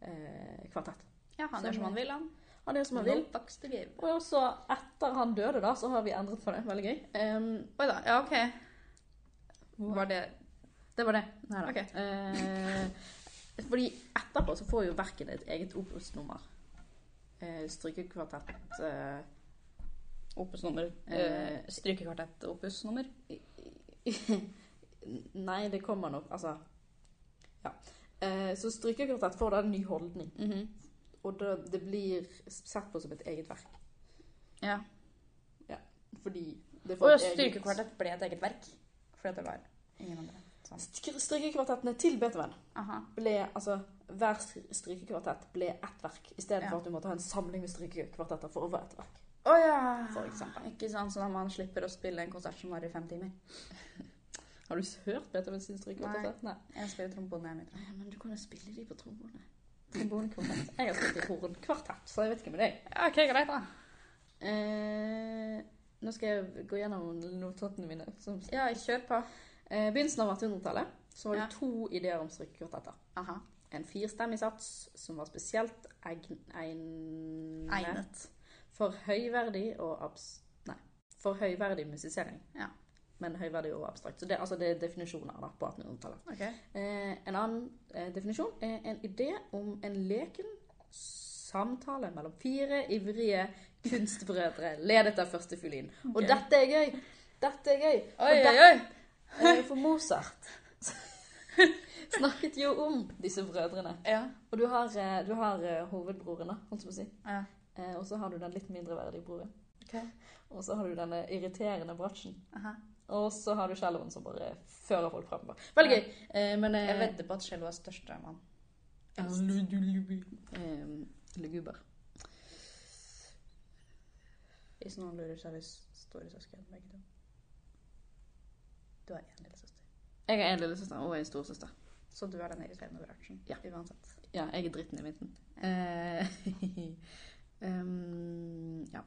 Speaker 2: eh, kvartett.
Speaker 1: ja, han gjør som han vil, han.
Speaker 2: Han gjør som han vil.
Speaker 1: No fucks to give.
Speaker 2: Og så etter han døde, da, så har vi endret på det. Veldig gøy. Ehm,
Speaker 1: Oi da. Ja, OK. Var det
Speaker 2: det var det. Nei da.
Speaker 1: Ok.
Speaker 2: Eh, fordi etterpå så får jo verkene et eget opusnummer. Eh, strykekvartett eh,
Speaker 1: opusnummer?
Speaker 2: Eh,
Speaker 1: Eh, Strykekvartett-opusnummer?
Speaker 2: Nei, det kommer nok Altså Ja. Eh, så strykekvartett får da en ny holdning.
Speaker 1: Mhm.
Speaker 2: Og da, det blir sett på som et eget verk.
Speaker 1: Ja.
Speaker 2: Fordi det
Speaker 1: Og
Speaker 2: et eget-
Speaker 1: Strykekvartett ble et eget verk. Fordi det var ingen andre. Sånn.
Speaker 2: Stryk- Strykekvartettene til Beethoven
Speaker 1: Aha.
Speaker 2: ble altså Hver strykekvartett ble ett verk, istedenfor
Speaker 1: Ja.
Speaker 2: for at du måtte ha en samling med strykekvartetter for å være et verk.
Speaker 1: Å ja!
Speaker 2: For eksempel.
Speaker 1: Ikke sant, sånn at man slipper å spille en konsert som varer i fem timer.
Speaker 2: Har du hørt Beethoven sin strykekvartett? Nei.
Speaker 1: Jeg spiller trombone, jeg, mitt.
Speaker 2: Men du kan jo spille de på trombone. Trombonekvartett. Jeg har spilt i hornkvartett, så jeg vet ikke med deg.
Speaker 1: Ja, OK, greit, da.
Speaker 2: Eh, nå skal jeg gå gjennom notatene mine. Som
Speaker 1: Ja, kjør på.
Speaker 2: Eh, begynnelsen av 1800-tallet så var det
Speaker 1: Ja.
Speaker 2: to ideer om strykekvartetter.
Speaker 1: Aha.
Speaker 2: En firstemmig sats som var spesielt egn, egnet,
Speaker 1: Egnet.
Speaker 2: for høyverdig og abs... Nei, for høyverdig musisering.
Speaker 1: Ja.
Speaker 2: Men høyverdig og abstrakt. Så det, altså, det er definisjoner da, på 1800-tallet.
Speaker 1: OK.
Speaker 2: Eh, en annen eh, definisjon er en idé om en leken samtale mellom fire ivrige kunstbrødre ledet av første fiolin. Og
Speaker 1: Ok.
Speaker 2: dette er gøy! Dette er gøy! For
Speaker 1: Oi, oi,
Speaker 2: dette
Speaker 1: oi!
Speaker 2: Eh, For Mozart snakket jo om disse brødrene.
Speaker 1: Ja.
Speaker 2: Og du har, eh, du har eh, hovedbroren, da, holdt jeg på å si.
Speaker 1: ja.
Speaker 2: Eh, Og så har du den litt mindreverdige broren.
Speaker 1: OK.
Speaker 2: Og så har du denne irriterende bratsjen.
Speaker 1: Aha.
Speaker 2: Og så har du celloen som bare fører folk framover. Veldig gøy! Eh, Men eh,
Speaker 1: Jeg vedder på at cello er største mann.
Speaker 2: Ja, lu- du- lu- lu- eh, Luguber.
Speaker 1: Hvis noen lurer, så er vi store søsken begge to. Du har én lillesøster.
Speaker 2: Jeg har en lillesøster og en storesøster.
Speaker 1: Så du er den irriterende bransjen.
Speaker 2: Ja.
Speaker 1: Uansett.
Speaker 2: Ja, jeg er dritten i midten. Eh, em, ja.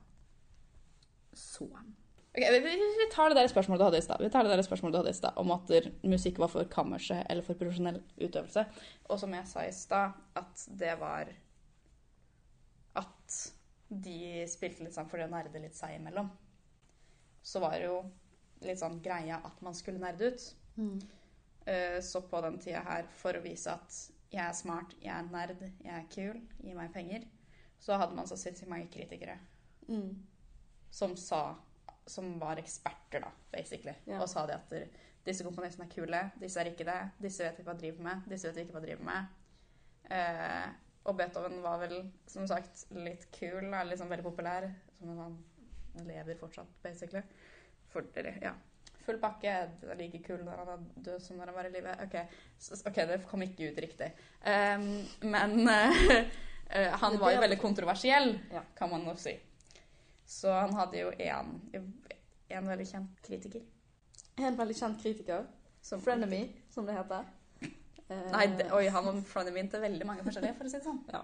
Speaker 2: Så
Speaker 1: Ok, vi, vi, vi tar det der spørsmålet du hadde i stad Vi tar det der spørsmålet du hadde i stad om at musikk var for kammerset eller for profesjonell utøvelse. Og som jeg sa i stad, at det var At de spilte litt sånn for å nerde litt seg imellom. Så var det jo litt sånn greia at man skulle nerde ut.
Speaker 2: Hmm.
Speaker 1: Eh, Så på den tida her, for å vise at jeg er smart, jeg er nerd, jeg er kul, gi meg penger, så hadde man så sinnssykt mange kritikere
Speaker 2: Mm.
Speaker 1: som sa Som var eksperter, da, basically.
Speaker 2: Ja.
Speaker 1: Og sa det at disse komponistene er kule, disse er ikke det, disse vet vi hva driver med, disse vet vi ikke hva driver med. Eh, og Beethoven var vel, som sagt, litt kul, da, liksom veldig populær. Som om han lever fortsatt, basically. For, eller, ja. Full pakke, det er like kul når han er død som når han var i live. Ok, s- ok, det kom ikke ut riktig. Ehm, men eh, eh, han var jo veldig kontroversiell,
Speaker 2: Ja.
Speaker 1: kan man jo si. Så han hadde jo én En veldig kjent kritiker.
Speaker 2: En veldig kjent kritiker.
Speaker 1: Som,
Speaker 2: Frenemy, som det heter. Eh,
Speaker 1: Nei, det, oi, han var frenemy til veldig mange forskjellige, for å si det sånn.
Speaker 2: Ja.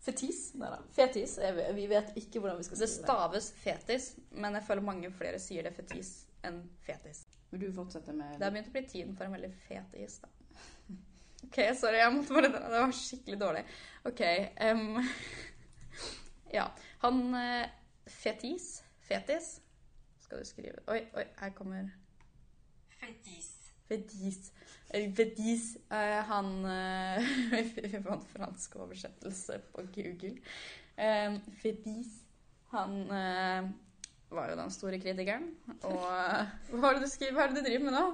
Speaker 2: Fetis. Nei da. Fetis. eh, Vi vi vet ikke hvordan vi skal
Speaker 1: Det
Speaker 2: skrive det.
Speaker 1: staves fetis, men jeg føler mange flere sier det fetis enn fetis.
Speaker 2: Vil du fortsette med
Speaker 1: Det har begynt å bli tiden for en veldig fet is, da. OK, sorry, jeg måtte bare Det var skikkelig dårlig. OK. em, ja. Han eh, Fetis. Fetis. Skal du skrive Oi, oi, her kommer Vedis. Vedis. eh, Han eh, Vi fant fransk oversettelse på Google. Eh, Vedis, han eh, var jo den store kritikeren. Og eh, hva er det du skriver? Hva er det du driver med nå?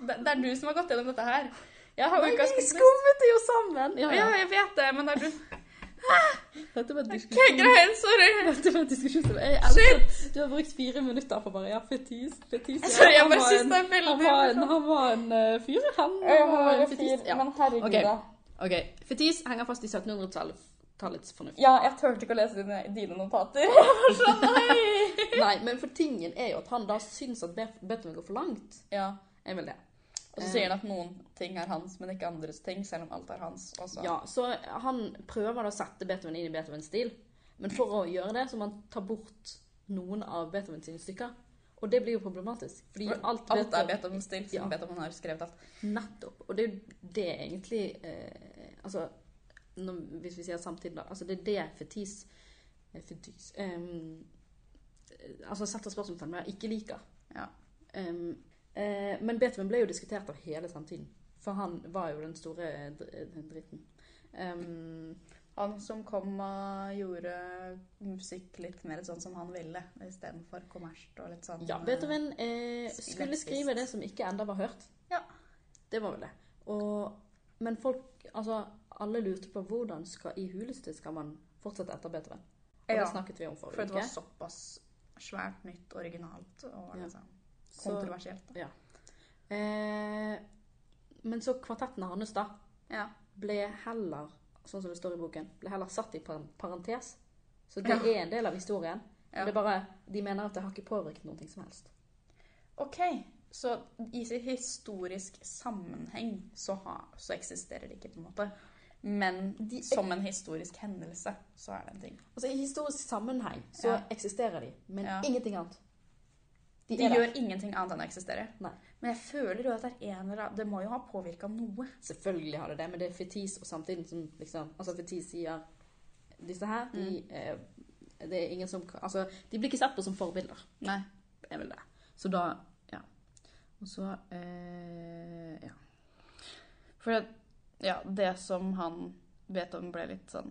Speaker 1: Det, det er du som har gått gjennom dette her. Jeg har jo ikke
Speaker 2: skummet det jo sammen! Ja,
Speaker 1: Ja,
Speaker 2: ja.
Speaker 1: jeg vet det, men det er du
Speaker 2: Dette var en
Speaker 1: OK,
Speaker 2: diskusjon.
Speaker 1: greit, sorry.
Speaker 2: Dette var en diskusjon som jeg elsket. Du har brukt fire minutter på bare ja, fetis, fetis. Ja,
Speaker 1: Sorry, jeg
Speaker 2: han
Speaker 1: bare
Speaker 2: var
Speaker 1: synes
Speaker 2: en-
Speaker 1: det er sånn. veldig
Speaker 2: Han var en, han var en eh, fyr, han. Han var en fetis. Ja.
Speaker 1: herregud,
Speaker 2: Ok. da. OK. Fetis henger fast i 1700-tallets fornuft.
Speaker 1: Ja, jeg turte ikke å lese dine, dine notater. Jeg var sånn, nei.
Speaker 2: Nei, men for tingen er jo at han da syns at Be- Beethoven går for langt.
Speaker 1: Ja.
Speaker 2: Jeg vil det.
Speaker 1: Og så sier han at noen ting er hans, men ikke andres ting, selv om alt er hans. Også.
Speaker 2: Ja, så han prøver da å sette Beethoven inn i Beethovens stil, men for å gjøre det så må han ta bort noen av Beethovens sine stykker. Og det blir jo problematisk, fordi
Speaker 1: Men
Speaker 2: alt,
Speaker 1: alt er Beethovens stil,
Speaker 2: Ja.
Speaker 1: siden Beethoven har skrevet alt.
Speaker 2: Nettopp. Og det er jo det egentlig eh, Altså, når, hvis vi sier samtiden, da. Altså, det er det Fetis eh, Fetis ehm, eh, Altså setter spørsmålstegn ved, ikke liker.
Speaker 1: Ja.
Speaker 2: Ehm, eh, men Beethoven ble jo diskutert av hele samtiden. For han var jo den store eh, dr- eh, dritten. Ehm,
Speaker 1: Han som kom og gjorde musikk litt mer sånn som han ville, istedenfor kommersielt og litt sånn
Speaker 2: ja, Beethoven eh,
Speaker 1: Stil-
Speaker 2: skulle skrive det som ikke enda var hørt.
Speaker 1: Ja.
Speaker 2: Det var vel det. Og, men folk Altså, alle lurte på hvordan skal, i huleste skal man fortsette etter Beethoven. Og
Speaker 1: eh, Ja,
Speaker 2: det snakket vi om forrige
Speaker 1: for det var
Speaker 2: uke.
Speaker 1: såpass svært nytt, originalt og
Speaker 2: Ja.
Speaker 1: liksom
Speaker 2: Så,
Speaker 1: kontroversielt.
Speaker 2: eh, men så kvartettene hans da
Speaker 1: Ja.
Speaker 2: ble heller, sånn som det står i boken, ble heller satt i par- parentes. Så det er en del av historien.
Speaker 1: Ja.
Speaker 2: Det er bare, De mener at det har ikke påvirket noe som helst.
Speaker 1: Ok, så i sin historisk sammenheng så, ha, så eksisterer det ikke, på en måte. Men
Speaker 2: De-
Speaker 1: som en historisk hendelse så er det en ting.
Speaker 2: Altså I historisk sammenheng så
Speaker 1: Ja.
Speaker 2: eksisterer de, men
Speaker 1: Ja.
Speaker 2: ingenting annet.
Speaker 1: De,
Speaker 2: er der.
Speaker 1: gjør ingenting annet enn å eksistere.
Speaker 2: Nei.
Speaker 1: Men jeg føler jo at det er en eller annen Det må jo ha påvirka noe.
Speaker 2: Selvfølgelig har det det, men det er Fetis og samtiden som liksom Altså Fetis sier disse her, de,
Speaker 1: Mm.
Speaker 2: eh, det er ingen som Altså, de blir ikke sett på som forbilder.
Speaker 1: Nei.
Speaker 2: er vel det. Så da Ja. Og så eh, Ja.
Speaker 1: For det, ja, det som han Beethoven ble litt sånn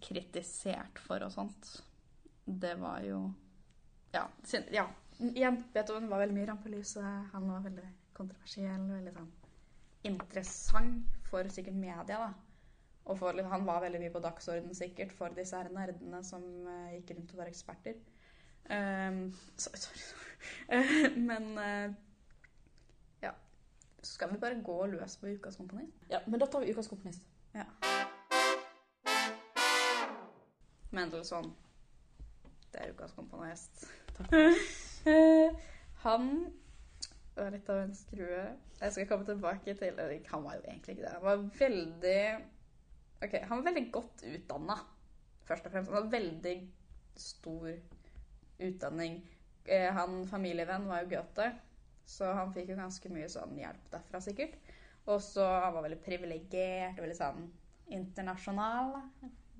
Speaker 1: kritisert for og sånt, det var jo Ja. sin- ja. Igjen, Beethoven var veldig mye rampelyse. Han var veldig kontroversiell. Veldig sånn interessant for sikkert media, da. Og for, han var veldig mye på dagsordenen sikkert for disse her nerdene som eh, gikk rundt og var eksperter. Ehm, sorry, sorry. sorry. Eh, men eh, ja. Så skal vi bare gå løs på ukas komponist?
Speaker 2: ja. Men da tar vi ukas komponist.
Speaker 1: Mendelssohn. sånn, Det er ukas komponist.
Speaker 2: Takk.
Speaker 1: Eh, han var litt av en skrue. Jeg skal komme tilbake til eller, Han var jo egentlig ikke det. Han var veldig Ok, han var veldig godt utdanna, først og fremst. Han hadde veldig stor utdanning. Eh, han familievenn var jo Goethe, så han fikk jo ganske mye sånn hjelp derfra, sikkert. Og så han var veldig privilegert, veldig sånn internasjonal.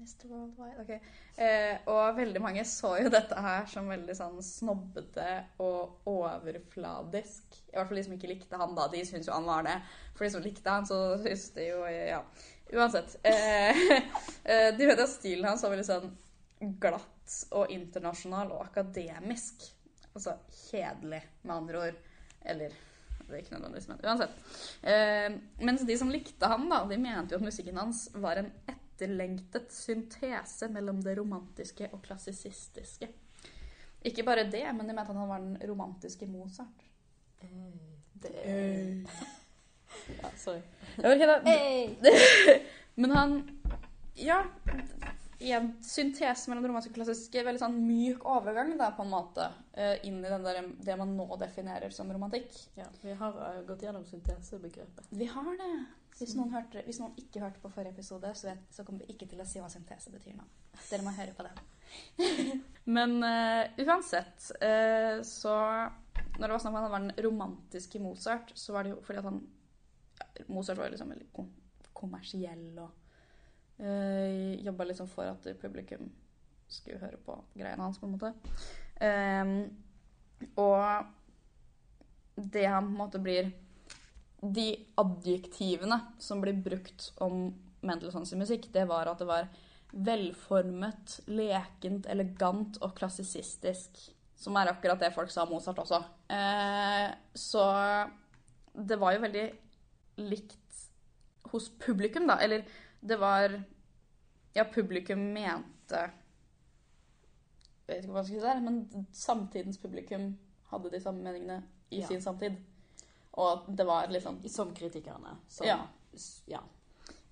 Speaker 1: Mr. Worldwide, ok. Eh, og veldig mange så jo dette her som veldig sånn snobbete og overfladisk. I hvert fall de som ikke likte han, da. De syntes jo han var det. For de som likte han, så syntes de jo eh, Ja. Uansett. Eh, eh, de vet at stilen hans var veldig sånn glatt og internasjonal og akademisk. Altså kjedelig, med andre ord. Eller det er ikke nødvendigvis, men uansett. Eh, mens de som likte han, da, de mente jo at musikken hans var en etterlengtet syntese mellom det romantiske og klassisistiske. Ikke bare det, men de mente at han var den romantiske Mozart.
Speaker 2: Eh, Det Ja, sorry.
Speaker 1: Jeg vet ikke, Eh. det-
Speaker 2: Hey.
Speaker 1: Eh, Men han Ja. Igjen, syntese mellom det romantiske og klassiske. Veldig sånn myk overgang, da, på en måte. eh, Inn i den der, det man nå definerer som romantikk.
Speaker 2: Ja, vi har eh, gått gjennom syntesebegrepet.
Speaker 1: Vi har det. Hvis noen, hørte, hvis noen ikke hørte på forrige episode, så, vet, så kommer vi ikke til å si hva syntese betyr nå. Dere må høre på den. Men eh, uansett, eh, så Når det var snakk om at han var den romantiske Mozart, så var det jo fordi at han ja, Mozart var jo liksom veldig kom kommersiell og uh, jobba liksom for at publikum skulle høre på greiene hans, på en måte. Ehm, og det han på en måte blir de adjektivene som blir brukt om Mendelssohns musikk, det var at det var velformet, lekent, elegant og klassisistisk. Som er akkurat det folk sa om Mozart også. Eh, så det var jo veldig likt hos publikum, da. Eller det var Ja, publikum mente Jeg vet ikke hva jeg skal si der, men samtidens publikum hadde de samme meningene i
Speaker 2: Ja.
Speaker 1: sin samtid. Og at det var liksom
Speaker 2: Som kritikerne. Som,
Speaker 1: Ja.
Speaker 2: s- ja.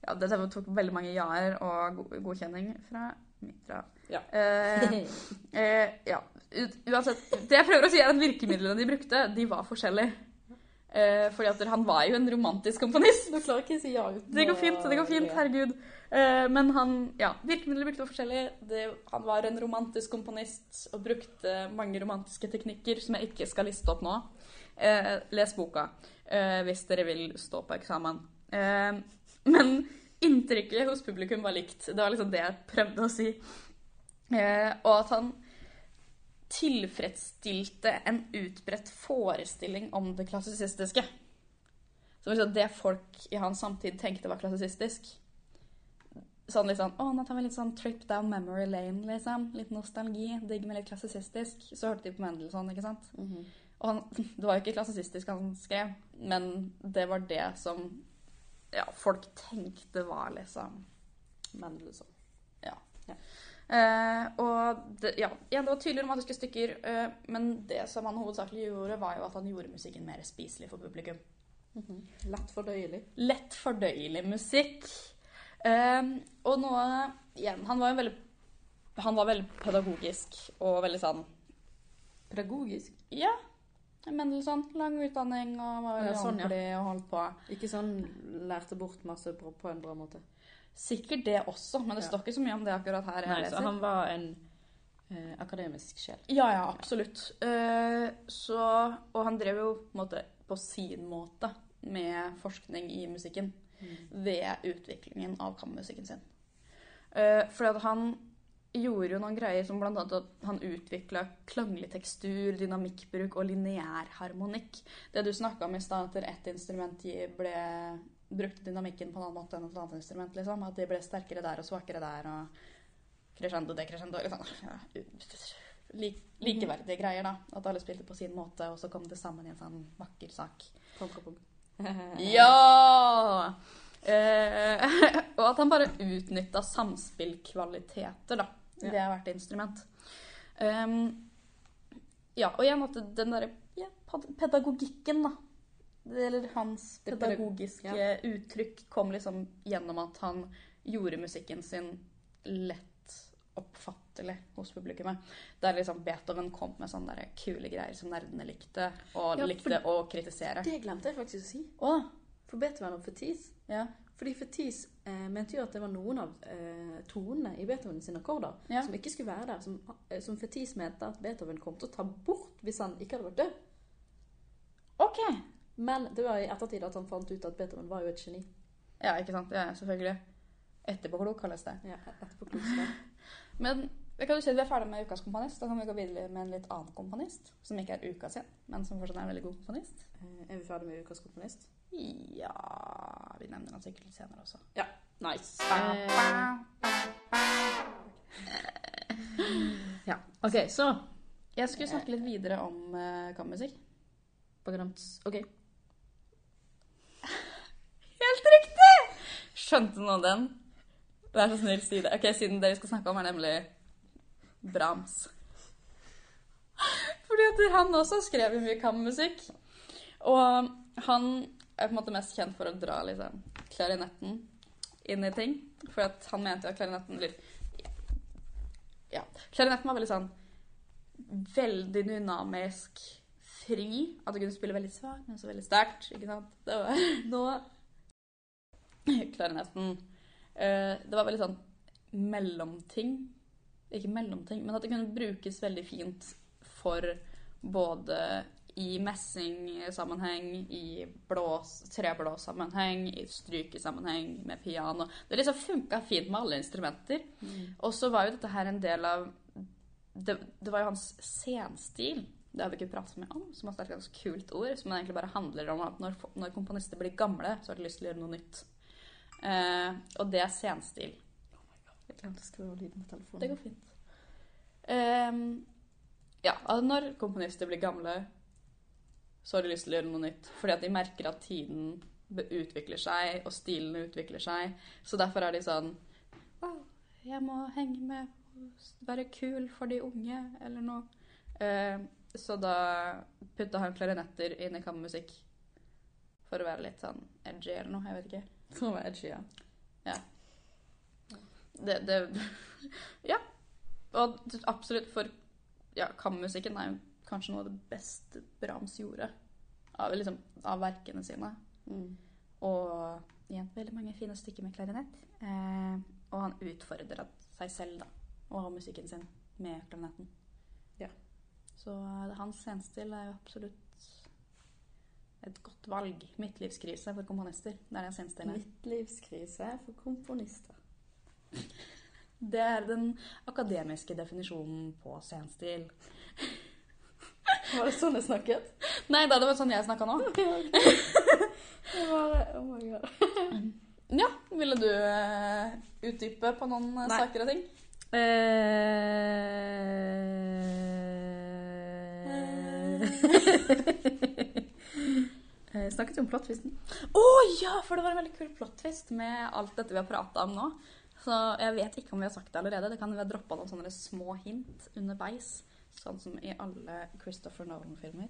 Speaker 1: ja, dette tok veldig mange ja-er og go- godkjenning fra Mitra.
Speaker 2: Ja.
Speaker 1: Eh, eh, ja. U uansett, det jeg prøver å si er at virkemidlene de brukte, de var forskjellige. Eh, fordi at han var jo en romantisk komponist.
Speaker 2: Nå klarer ikke jeg å si ja uten
Speaker 1: Det går
Speaker 2: å-
Speaker 1: fint, det går fint,
Speaker 2: ja.
Speaker 1: herregud. Eh, men han ja, virkemidler brukte var forskjellige. Det, han var en romantisk komponist og brukte mange romantiske teknikker som jeg ikke skal liste opp nå. Eh, les boka eh, hvis dere vil stå på eksamen. Eh, men inntrykket hos publikum var likt. Det var liksom det jeg prøvde å si. Eh, og at han tilfredsstilte en utbredt forestilling om det klassisistiske. Så det var sånn, det folk i hans samtid tenkte var klassisistisk. Sånn litt sånn, å, nå tar vi litt sånn trip down memory lane, liksom. Litt nostalgi, digg med litt klassisistisk. Så hørte de på Mendelssohn, ikke sant?
Speaker 2: Mhm.
Speaker 1: Og han, det var jo ikke klassisistisk han skrev, men det var det som ja, folk tenkte var liksom
Speaker 2: Mendelssohn.
Speaker 1: Eh, og det, ja, igjen, det var tydelige romantiske stykker, eh, men det som han hovedsakelig gjorde, var jo at han gjorde musikken mer spiselig for publikum.
Speaker 2: Mhm. Lett fordøyelig.
Speaker 1: Lett fordøyelig musikk. Eh, og noe igjen Han var jo veldig Han var veldig pedagogisk og veldig sånn
Speaker 2: Pedagogisk.
Speaker 1: Ja, Mendelssohn. sånn Lang utdanning og var veldig
Speaker 2: Ja, sånn, ja.
Speaker 1: ordentlig og holdt på.
Speaker 2: Ikke sånn lærte bort masse på, på en bra måte.
Speaker 1: Sikkert det også, men det
Speaker 2: Ja.
Speaker 1: står ikke så mye om det akkurat her. jeg
Speaker 2: Nei, så
Speaker 1: leser.
Speaker 2: han var en eh, akademisk sjel.
Speaker 1: Ja, ja, absolutt. Eh, så, og han drev jo på, en måte, på sin måte med forskning i musikken
Speaker 2: Mm.
Speaker 1: ved utviklingen av kammermusikken sin. Eh, fordi at han gjorde jo noen greier som bl.a. at han utvikla klanglig tekstur, dynamikkbruk og lineær harmonikk. Det du snakka om i stad, at ett instrument gi- ble brukte dynamikken på en annen måte enn et annet instrument. liksom, At de ble sterkere der og svakere der. og Crescendo, decrescendo liksom. ja, lik, Likeverdige greier, da. At alle spilte på sin måte, og så kom det sammen i en sånn vakker sak.
Speaker 2: Kontrapunkt.
Speaker 1: Ja! Eh, og at han bare utnytta samspillkvaliteter, da.
Speaker 2: Ja.
Speaker 1: Det er hvert instrument. Ehm, ja, og igjen at den derre ja, pad- pedagogikken, da. Det- Eller hans
Speaker 2: Det pedag-
Speaker 1: pedagogiske uttrykk kom liksom gjennom at han gjorde musikken sin lett oppfattelig hos publikummet. Der liksom Beethoven kom med sånne der kule greier som nerdene likte, og
Speaker 2: Ja, for-
Speaker 1: likte å kritisere.
Speaker 2: Det glemte jeg faktisk å si.
Speaker 1: Å,
Speaker 2: For Beethoven og Fetis
Speaker 1: ja.
Speaker 2: Fordi Fetis eh, mente jo at det var noen av eh, tonene i Beethoven sine akkorder
Speaker 1: Ja.
Speaker 2: som ikke skulle være der. Som, eh, som Fetis mente at Beethoven kom til å ta bort hvis han ikke hadde vært død.
Speaker 1: Ok.
Speaker 2: Men det var i ettertid at han fant ut at Beethoven var jo et geni.
Speaker 1: Ja, ikke sant. Ja, selvfølgelig. Etterpåklok kalles det.
Speaker 2: Ja, etterpå klokskap.
Speaker 1: Men da kan du si at vi er ferdig med ukas komponist. Da kan vi gå videre med en litt annen komponist, som ikke er uka sin, men som fortsatt er en veldig god komponist.
Speaker 2: Eh, Er vi ferdig med ukas komponist?
Speaker 1: Ja Vi nevner han sikkert litt senere også.
Speaker 2: Nice.
Speaker 1: Eh. Ja.
Speaker 2: OK, så
Speaker 1: Jeg skulle snakke litt videre om eh, kammermusikk.
Speaker 2: OK.
Speaker 1: Helt riktig! Skjønte noen den? Vær så snill, si det. Ok, Siden det vi skal snakke om, er nemlig Brahms. Fordi at han også skrev jo mye kammermusikk. Og han er på en måte mest kjent for å dra liksom, klarinetten inn i ting. For at han mente jo at klarinetten eller, Ja. Klarinetten var veldig sånn Veldig dynamisk, fri. At du kunne spille veldig svakt, men også veldig sterkt. Ikke sant? Det var
Speaker 2: Nå
Speaker 1: klarinetten. Eh, det var veldig sånn mellomting. Ikke mellomting, men at det kunne brukes veldig fint for både i messingsammenheng, i blås, treblåssammenheng, i strykesammenheng med piano. Det liksom funka fint med alle instrumenter. Og så var jo dette her en del av Det, det var jo hans senstil. Det har vi ikke pratet så mye om, som er et ganske kult ord. Som egentlig bare handler om at når, når komponister blir gamle, så har de lyst til å gjøre noe nytt. Eh, og det er senstil.
Speaker 2: Jeg glemte å skru av lyden på telefonen.
Speaker 1: Det går fint. Ehm, ja, altså når komponister blir gamle, så har de lyst til å gjøre noe nytt. Fordi at de merker at tiden be- utvikler seg, og stilene utvikler seg. Så derfor er de sånn Wow, jeg må henge med, være kul for de unge, eller noe. Ehm, så da putta han klarinetter inn i kammermusikk. For å være litt sånn edgy eller noe. Jeg vet ikke.
Speaker 2: For å være edgy, ja.
Speaker 1: det, det Ja. Og absolutt, for ja, kammermusikken er jo kanskje noe av det beste Brahms gjorde. av, liksom, av verkene sine.
Speaker 2: Mm.
Speaker 1: Og igjen veldig mange fine stykker med klarinett. Eh, og han utfordrer seg selv da, og musikken sin med klarinetten.
Speaker 2: Ja.
Speaker 1: Så eh, hans scenestil er jo absolutt et godt valg. Midtlivskrise for komponister. Det er den scenestilen. her.
Speaker 2: Midtlivskrise for komponister.
Speaker 1: Det er den akademiske definisjonen på scenestil.
Speaker 2: Var det sånn jeg snakket?
Speaker 1: Nei da, det var sånn jeg snakka nå.
Speaker 2: Jeg bare, oh my god.
Speaker 1: Ja, ville du eh, utdype på noen eh,
Speaker 2: Nei.
Speaker 1: saker og ting?
Speaker 2: Eh, snakket jo om plottvisten.
Speaker 1: Å ja, for det var en veldig kul plot-twist med alt dette vi har prata om nå. Så jeg vet ikke om vi har sagt det allerede. Det kan vi ha droppa noen sånne små hint underveis. Sånn som i alle Christopher Nolan-filmer.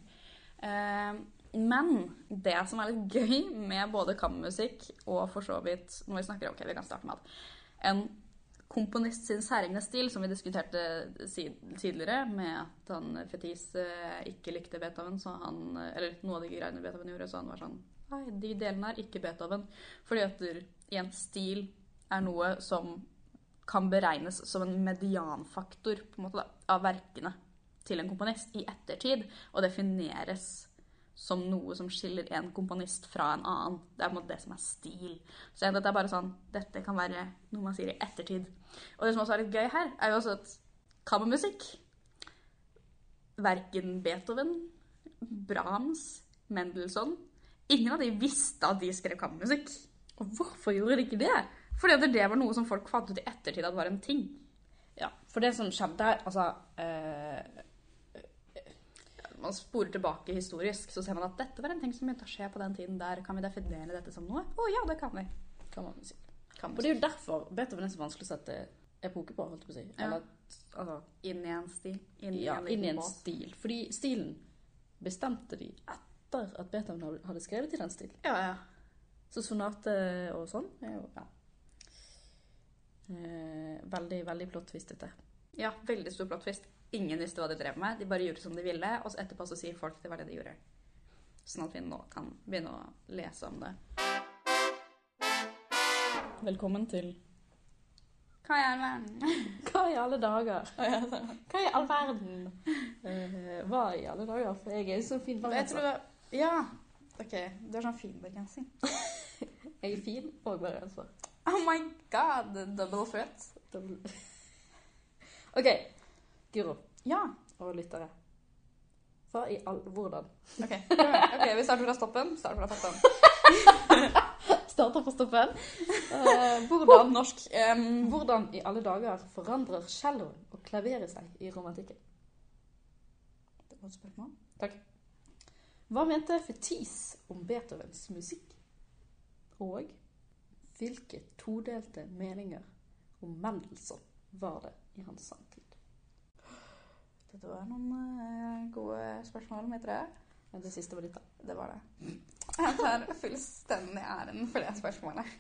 Speaker 1: Eh, men det som er litt gøy med både kammermusikk og for så vidt når vi snakker, ok, vi kan starte med at en komponist sin særegne stil, som vi diskuterte si- tidligere, med at han eh, Fetis eh, ikke likte Beethoven, så han, eh, eller noe av de greiene Beethoven gjorde, så han var sånn Nei, de delene er ikke Beethoven. Fordi at der- igjen, stil er noe som kan beregnes som en medianfaktor på en måte da, av verkene til en komponist i ettertid, og defineres som noe som skiller en komponist fra en annen. Det er på en måte det som er stil. Så igjen, dette er bare sånn, dette kan være noe man sier i ettertid. Og det som også er litt gøy her, er jo også at kammermusikk Verken Beethoven, Brahms, Mendelssohn Ingen av de visste at de skrev kammermusikk.
Speaker 2: Og hvorfor gjorde de ikke det?
Speaker 1: Fordi at det var noe som folk fant ut i ettertid at var en ting.
Speaker 2: Ja, for det som skjedde, altså eh,
Speaker 1: Man sporer tilbake historisk, så ser man at dette var en ting som begynte å skje på den tiden der. Kan vi definere dette som noe? Å ja, det kan vi.
Speaker 2: Kan man si.
Speaker 1: Kan
Speaker 2: Og det er jo derfor Beethoven er så vanskelig å sette epoke på, holdt jeg på å si.
Speaker 1: Ja.
Speaker 2: Eller, altså,
Speaker 1: Inn i en stil. Inn i
Speaker 2: ja,
Speaker 1: en
Speaker 2: inn i
Speaker 1: liten
Speaker 2: en
Speaker 1: bås.
Speaker 2: stil. Fordi stilen bestemte de etter at Beethoven hadde- hadde skrevet i den stilen.
Speaker 1: Ja, ja.
Speaker 2: Så sonate og sånn er jo ja. Eh, veldig, veldig plottvistete.
Speaker 1: ja, veldig stor plot twist. Ingen visste hva de drev med. De bare gjorde som de ville, og så etterpå så sier folk at det var det de gjorde. Sånn at vi nå kan begynne å lese om det.
Speaker 2: Velkommen til
Speaker 1: Hva er det?
Speaker 2: Hva i alle dager? Hva i all verden? Eh, hva i alle dager? For jeg er jo så fin
Speaker 1: Jeg
Speaker 2: bergenser.
Speaker 1: tror Ja. OK. Du er sånn fin bergenser.
Speaker 2: altså. Jeg er fin og altså. bergenser.
Speaker 1: Oh my god! Double threat.
Speaker 2: Dobbel- OK. Guro
Speaker 1: Ja.
Speaker 2: og lyttere. Hva i all Hvordan?
Speaker 1: Ok, ok, vi starter fra stoppen. Start fra toppen.
Speaker 2: Starter på stoppen. Eh, hvordan,
Speaker 1: norsk. em, hvor-
Speaker 2: hvordan i alle dager forandrer celloen og klaveret seg i romantikken?
Speaker 1: Det var et spørsmål.
Speaker 2: Hva mente Fetis om Beethovens musikk? Og hvilke todelte meninger om Mendelssohn var det i hans samtid?
Speaker 1: Dette var noen eh, gode spørsmål, mitt rød.
Speaker 2: Ja, Det siste var ditt, da.
Speaker 1: Det var det. Jeg tar fullstendig æren for det spørsmålet.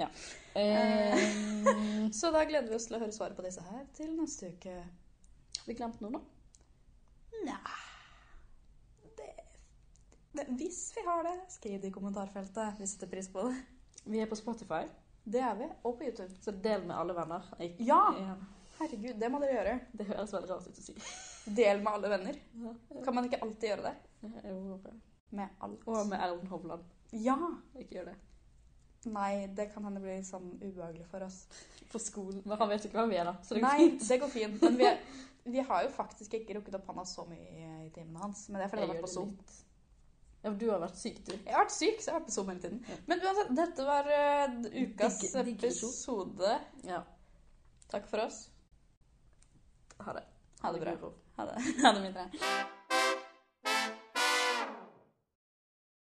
Speaker 2: Eh,
Speaker 1: Så da gleder vi oss til å høre svaret på disse her til neste uke.
Speaker 2: har vi glemt noe nå?
Speaker 1: Nja det, det, Hvis vi har det, skriv det i kommentarfeltet. Vi setter pris på det.
Speaker 2: Vi er på Spotify,
Speaker 1: Det er vi. Og på YouTube.
Speaker 2: så del med alle venner. Ikke-
Speaker 1: Ja!
Speaker 2: Ja,
Speaker 1: Herregud, det må dere gjøre.
Speaker 2: Det høres veldig rart ut å si.
Speaker 1: Del med alle venner.
Speaker 2: Ja,
Speaker 1: Kan man ikke alltid gjøre det?
Speaker 2: jo, bra.
Speaker 1: Med alt.
Speaker 2: Og med Erlend Hovland.
Speaker 1: Ja!
Speaker 2: Ikke gjør det.
Speaker 1: Nei, det kan hende bli sånn ubehagelig for oss.
Speaker 2: På skolen. Men han vet jo ikke hvem vi er, da. Så det går
Speaker 1: Nei,
Speaker 2: fint.
Speaker 1: det går fint. Men vi, vi har jo faktisk ikke rukket opp hånda så mye i, i timene hans. Men det er fordi jeg har
Speaker 2: Jeg
Speaker 1: vært på
Speaker 2: gjør
Speaker 1: Zoom.
Speaker 2: det litt. Ja, men du har vært syk, du.
Speaker 1: Jeg har vært syk, så jeg har vært på Zoom hele tiden.
Speaker 2: Ja.
Speaker 1: Men uansett, dette var eh, ukas
Speaker 2: Digg- digg
Speaker 1: episode.
Speaker 2: Ja.
Speaker 1: Takk for oss.
Speaker 2: Ha det.
Speaker 1: Ha det bra.
Speaker 2: Guro.
Speaker 1: Ha det, ha det mindre.